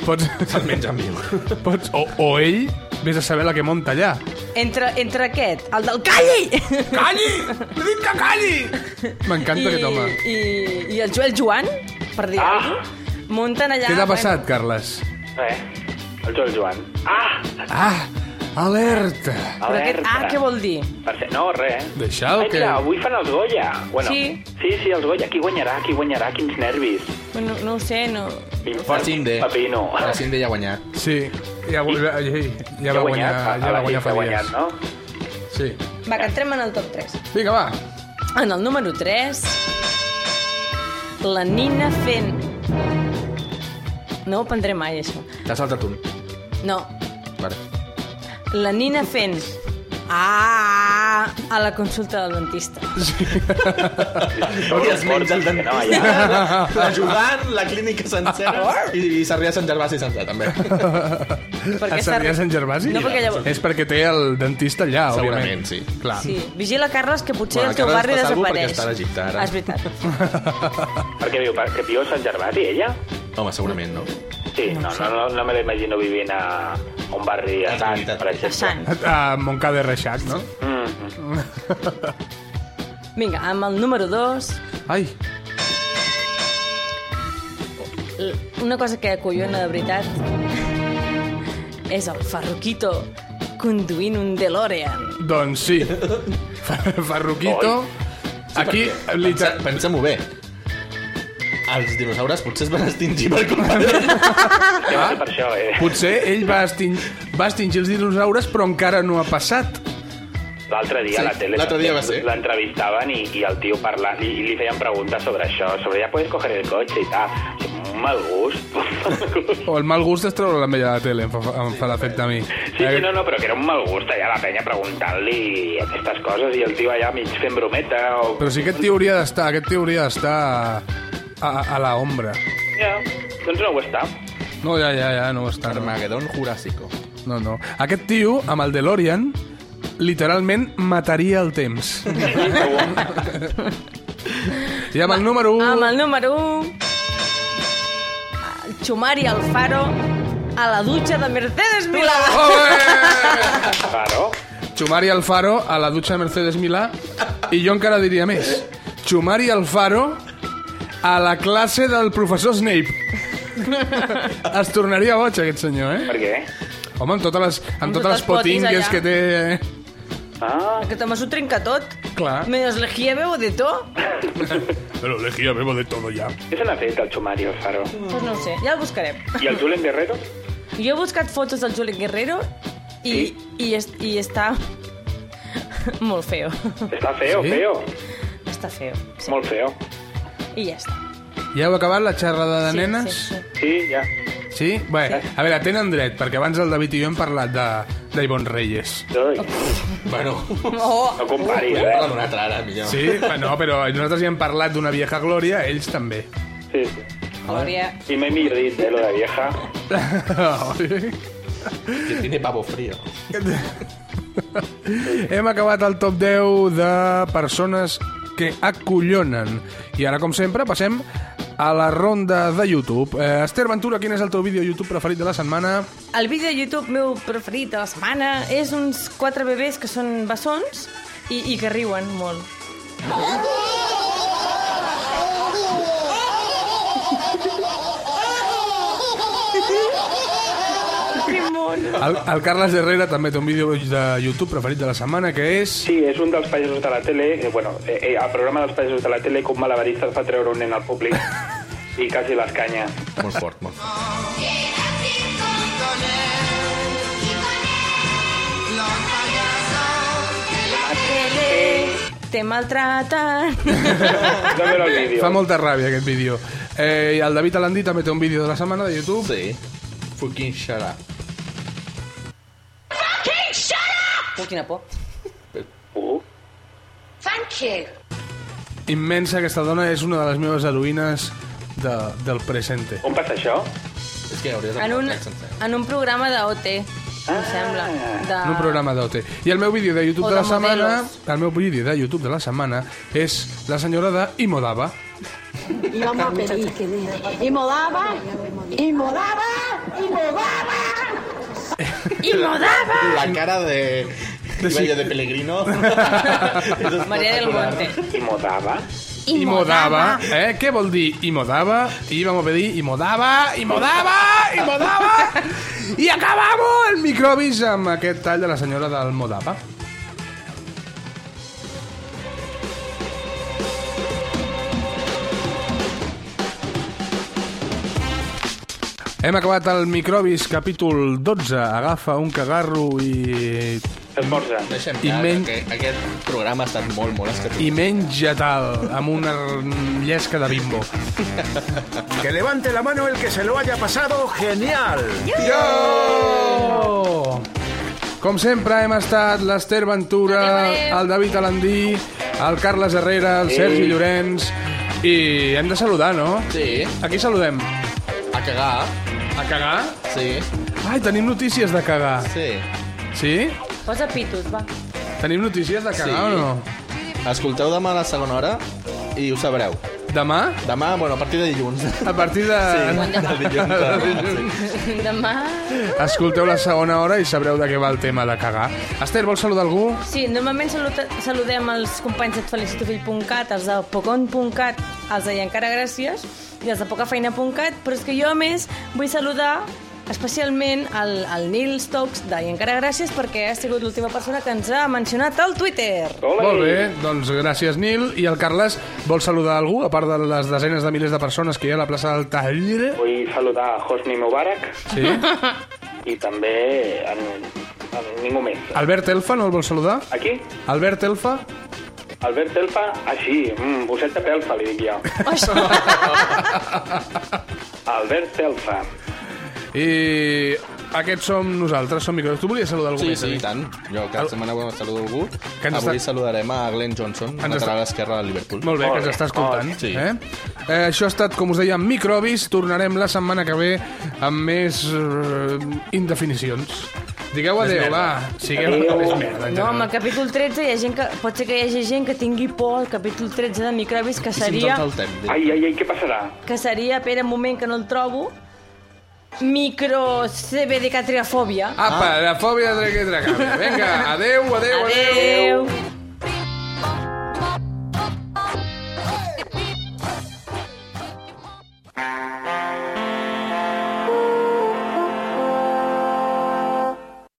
Speaker 1: Pots... Se'l menja amb [LAUGHS] Pots... O, o ell, vés a saber la que monta allà.
Speaker 3: Entre, entre aquest, el del Calli!
Speaker 1: Calli! L'he dit que calli! M'encanta aquest home.
Speaker 3: I, I el Joel Joan, per dir ah. alguna cosa, munten allà...
Speaker 1: Què t'ha passat, Carles?
Speaker 4: Res, el Joel Joan. Ah!
Speaker 1: Ah, alerta!
Speaker 3: Però aquest, ah, què vol dir?
Speaker 4: Per ser... No, res.
Speaker 1: Deixa'l
Speaker 4: Ai,
Speaker 1: que...
Speaker 4: mira, avui fan els Goya. Bueno,
Speaker 3: Sí.
Speaker 4: sí, sí, els Goya. Qui guanyarà, qui guanyarà, quins nervis.
Speaker 3: No, no ho sé, no...
Speaker 2: Facinde.
Speaker 1: eh.
Speaker 4: Papino.
Speaker 2: Facinde ja ha guanyat.
Speaker 1: Sí, ja, vo- ja, ja, ja va
Speaker 4: ha
Speaker 1: guanyar,
Speaker 4: guanyat,
Speaker 1: ja
Speaker 4: a
Speaker 1: va
Speaker 4: la
Speaker 1: guanyar
Speaker 4: llista
Speaker 1: fa
Speaker 4: ha
Speaker 1: dies.
Speaker 4: guanyat, no?
Speaker 1: Sí.
Speaker 3: Va, que entrem en el top 3.
Speaker 1: Vinga, va.
Speaker 3: En el número 3, la Nina fent... No ho prendré mai, això.
Speaker 2: T'ha saltat un.
Speaker 3: No,
Speaker 2: Vale.
Speaker 3: la Nina fent Ah, a la consulta del dentista.
Speaker 2: No li has menjat el dentista, [LAUGHS] l'ajudant, la clínica sencera i, i Sarrià Sant Gervasi sencer, també.
Speaker 1: A Sarrià Sant Gervasi?
Speaker 3: No, perquè llavors-
Speaker 1: És perquè té el dentista allà,
Speaker 2: Segurament,
Speaker 1: òbviament.
Speaker 2: sí.
Speaker 1: Clar.
Speaker 3: Sí. Vigila, Carles, que potser
Speaker 1: Bueno,
Speaker 3: el teu
Speaker 1: Carles
Speaker 3: barri
Speaker 1: passa alguna cosa
Speaker 3: desapareix.
Speaker 1: perquè està a Egipte, ara.
Speaker 3: Ah, És veritat.
Speaker 4: Per què viu? Perquè viu a Sant Gervasi, ella?
Speaker 2: Home, segurament no.
Speaker 4: Sí, no, no, no, no me la imagino vivint a un barri a Sant, per exemple.
Speaker 1: A Montcada de Reixac, no?
Speaker 4: Mm.
Speaker 3: Vinga, amb el número 2,
Speaker 1: Ai,
Speaker 3: una cosa que acollona de veritat és el Farruquito conduint un DeLorean.
Speaker 1: doncs
Speaker 4: [LAUGHS]
Speaker 1: sí. Fer- Ferruquito... Aquí,
Speaker 2: pensa, pensa-m'ho bé. Els dinosaures potser es van extingir per culpa
Speaker 4: Ah? Per això, eh?
Speaker 1: Potser ell va, extin... va extingir els dinosaures, però encara no ha passat.
Speaker 4: L'altre dia
Speaker 1: Sí,
Speaker 4: a la tele
Speaker 1: l'altre dia va ser.
Speaker 4: l'entrevistaven i, i el tio parlant i, i li feien preguntes sobre això, sobre ja puedes coger el cotxe i tal. Un mal gust. [LAUGHS]
Speaker 1: O el mal gust és treure la mella de la tele, em fa, em fa l'efecte a mi. Eh,
Speaker 4: Sí, sí, no, no, però que era un mal gust allà la penya preguntant-li aquestes coses i el tio allà mig fent brometa o...
Speaker 1: Però si aquest tio hauria d'estar, aquest tio hauria d'estar a, a, a la ombra.
Speaker 4: Ja, doncs no ho està.
Speaker 1: No, ja, ja, ja, no ho està.
Speaker 2: Armagedón Jurásico.
Speaker 1: No, no. Aquest tio, amb el DeLorean, literalment mataria el temps. I amb el número 1...
Speaker 3: Amb el número 1, el Xumari Alfaro a la dutxa de Mercedes Milà.
Speaker 4: Claro.
Speaker 1: Xumari Alfaro a la dutxa de Mercedes Milà i jo encara diria més. Xumari Alfaro a la classe del professor Snape. Es tornaria boig, aquest senyor, eh?
Speaker 4: Per què?
Speaker 1: Home, amb totes les, amb totes les potingues
Speaker 3: allà.
Speaker 1: que té... eh?
Speaker 4: Ah.
Speaker 3: Aquest home s'ho trenca tot.
Speaker 1: Clar.
Speaker 3: Menos lejía veo de to.
Speaker 1: Però l'egia bebo de todo ja.
Speaker 4: Què se n'ha fet el Xumari el Faro?
Speaker 3: Doncs no ho sé, ja el buscarem.
Speaker 4: I el Julen Guerrero?
Speaker 3: Jo he buscat fotos del Juli Guerrero i,
Speaker 4: Sí?
Speaker 3: i, es, i està [LAUGHS] molt feo.
Speaker 4: Està feo,
Speaker 1: Sí?
Speaker 4: feo.
Speaker 3: Està feo. Sí.
Speaker 4: Molt feo.
Speaker 3: I ja està.
Speaker 1: Ja heu acabat la xerrada de nenes?
Speaker 3: Sí, sí.
Speaker 4: Sí, ja.
Speaker 1: Sí? Bé, a veure, tenen dret, perquè abans el David i jo hem parlat de, de Ivonne Reyes. Bueno,
Speaker 3: Oh.
Speaker 4: No comparis,
Speaker 2: Podem parlar
Speaker 4: eh?
Speaker 2: d'una altra ara, millor.
Speaker 1: sí, no, però nosaltres ja hem parlat d'una vieja glòria, ells també. [LAUGHS]
Speaker 4: Sí, sí.
Speaker 3: Glòria.
Speaker 4: I m'he mirit, eh, lo de vieja.
Speaker 2: Que tiene pavo frío.
Speaker 1: Hem acabat el top 10 de persones que acollonen. I ara, com sempre, passem a la ronda de YouTube. Eh, Esther Ventura, quin és el teu vídeo YouTube preferit de la setmana?
Speaker 3: El vídeo de YouTube meu preferit de la setmana és uns quatre bebès que són bessons i, i que riuen molt. Que mono.
Speaker 1: El, el Carles Herrera també té un vídeo de YouTube preferit de la setmana, que és...
Speaker 4: Sí, és un dels països de la tele, eh, bueno, eh, eh, el programa dels països de la tele com malabarista es va treure un nen al
Speaker 1: [LAUGHS]
Speaker 4: públic i quasi les canyes.
Speaker 2: Molt fort, molt fort.
Speaker 3: La tele te [LAUGHS] maltrata.
Speaker 4: No veure el vídeo.
Speaker 1: Fa molta ràbia, aquest vídeo. Eh, i el David Alandí també té un vídeo de la setmana de YouTube.
Speaker 2: Sí. Fucking shut up.
Speaker 9: Fucking shut up!
Speaker 3: Oh, quina por.
Speaker 4: Uh,
Speaker 9: Thank you.
Speaker 1: Immensa, aquesta dona és una de les meves heroïnes de, del presente.
Speaker 4: on passa això?
Speaker 2: És que hauries de
Speaker 3: En un,
Speaker 2: parlar sencer.
Speaker 3: en un programa d'OT, em sembla. De...
Speaker 1: en un programa d'OT. I el meu vídeo de YouTube
Speaker 3: O
Speaker 1: de la
Speaker 3: de
Speaker 1: setmana...
Speaker 3: modelos.
Speaker 1: El meu vídeo de YouTube de la setmana és la senyora de Imodava.
Speaker 12: Íbamos a pedir. Y modaba, y modaba, y modaba.
Speaker 3: I
Speaker 1: [LAUGHS]
Speaker 3: modava!
Speaker 2: La cara de... De, de Pellegrino.
Speaker 3: Maria del Monte.
Speaker 4: I modava?
Speaker 1: Imodava. Eh? Què vol dir Imodava? I vam pedir Imodava, Imodava, Imodava... I acabamos el microbis amb aquest tall de la senyora del Modava. Hem acabat el microbis capítol 12. Agafa un cagarro i...
Speaker 4: Esmorza.
Speaker 2: Deixem
Speaker 1: I
Speaker 2: ja,
Speaker 1: men-
Speaker 2: que aquest programa ha estat molt, molt escatològic.
Speaker 1: i menja tal amb una llesca de bimbo.
Speaker 19: Que levante la mano el que se lo haya pasado genial.
Speaker 1: Yo! Com sempre hem estat l'Ester Ventura, el David Alandí, el Carles Herrera, el
Speaker 2: Sí.
Speaker 1: Sergi Llorenç... I hem de saludar, no?
Speaker 2: Sí.
Speaker 1: Aquí saludem.
Speaker 2: A cagar.
Speaker 1: A cagar?
Speaker 2: Sí.
Speaker 1: Ai, tenim notícies de cagar.
Speaker 2: Sí.
Speaker 1: Sí?
Speaker 3: Posa pitos, va. [LAUGHS]
Speaker 1: Tenim notícies de cagar o no?
Speaker 2: Escolteu demà a la segona hora i ho sabreu.
Speaker 1: Demà?
Speaker 2: Demà, bueno, a partir de dilluns.
Speaker 1: A partir de...
Speaker 2: Sí, [LAUGHS] de dilluns. a-
Speaker 1: De dilluns.
Speaker 3: Demà...
Speaker 1: Escolteu la segona hora i sabreu de què va el tema de cagar. Esther, vols saludar algú?
Speaker 3: Sí, normalment saluta, saludem els companys de felicitofill.cat, els de pocon.cat, els de i encara gràcies, i els de pocafeina.cat, però és que jo, a més, vull saludar especialment el, el Nil Stokes de i encara gràcies perquè ha sigut l'última persona que ens ha mencionat al Twitter.
Speaker 1: Molt bé, doncs gràcies, Nil. I el Carles, vol saludar algú, a part de les desenes de milers de persones que hi ha a la plaça del Taller?
Speaker 4: Vull saludar a Hosni Mubarak
Speaker 1: Sí.
Speaker 4: i també en, en ningú més.
Speaker 1: Albert Elfa, no el vol saludar?
Speaker 4: Aquí,
Speaker 1: Albert Elfa?
Speaker 4: Albert Elfa, així, mm, bosset de pelfa, li dic jo. Albert Elfa.
Speaker 1: I aquests som nosaltres, som micros. Tu volies saludar algú
Speaker 2: Sí,
Speaker 1: més?
Speaker 2: sí, i
Speaker 1: David?
Speaker 2: tant. Jo cada setmana ho saludo algú.
Speaker 1: Que ens
Speaker 2: Avui
Speaker 1: està-
Speaker 2: saludarem a Glenn Johnson,
Speaker 1: Ens
Speaker 2: lateral
Speaker 1: està-
Speaker 2: esquerre del Liverpool.
Speaker 1: Molt bé, que ens està escoltant.
Speaker 2: Sí.
Speaker 1: Eh? Eh, això ha estat, com us deia, Microbis. Tornarem la setmana que ve amb més eh, indefinicions. Digueu
Speaker 3: Més
Speaker 1: adéu,
Speaker 3: merda.
Speaker 1: va. Sigueu
Speaker 3: Adéu.
Speaker 1: més merda. en
Speaker 3: No,
Speaker 1: general.
Speaker 3: home, al capítol 13 hi ha gent que... Pot ser que hi hagi gent que tingui por al capítol 13 de microbis, que seria...
Speaker 4: Ai, ai, ai, què passarà?
Speaker 3: Que seria, espera un moment que no el trobo, micro CBD catriafòbia.
Speaker 1: Ah, Apa, la fòbia de que traga. Vinga, adéu, adéu, adéu.
Speaker 3: Adéu.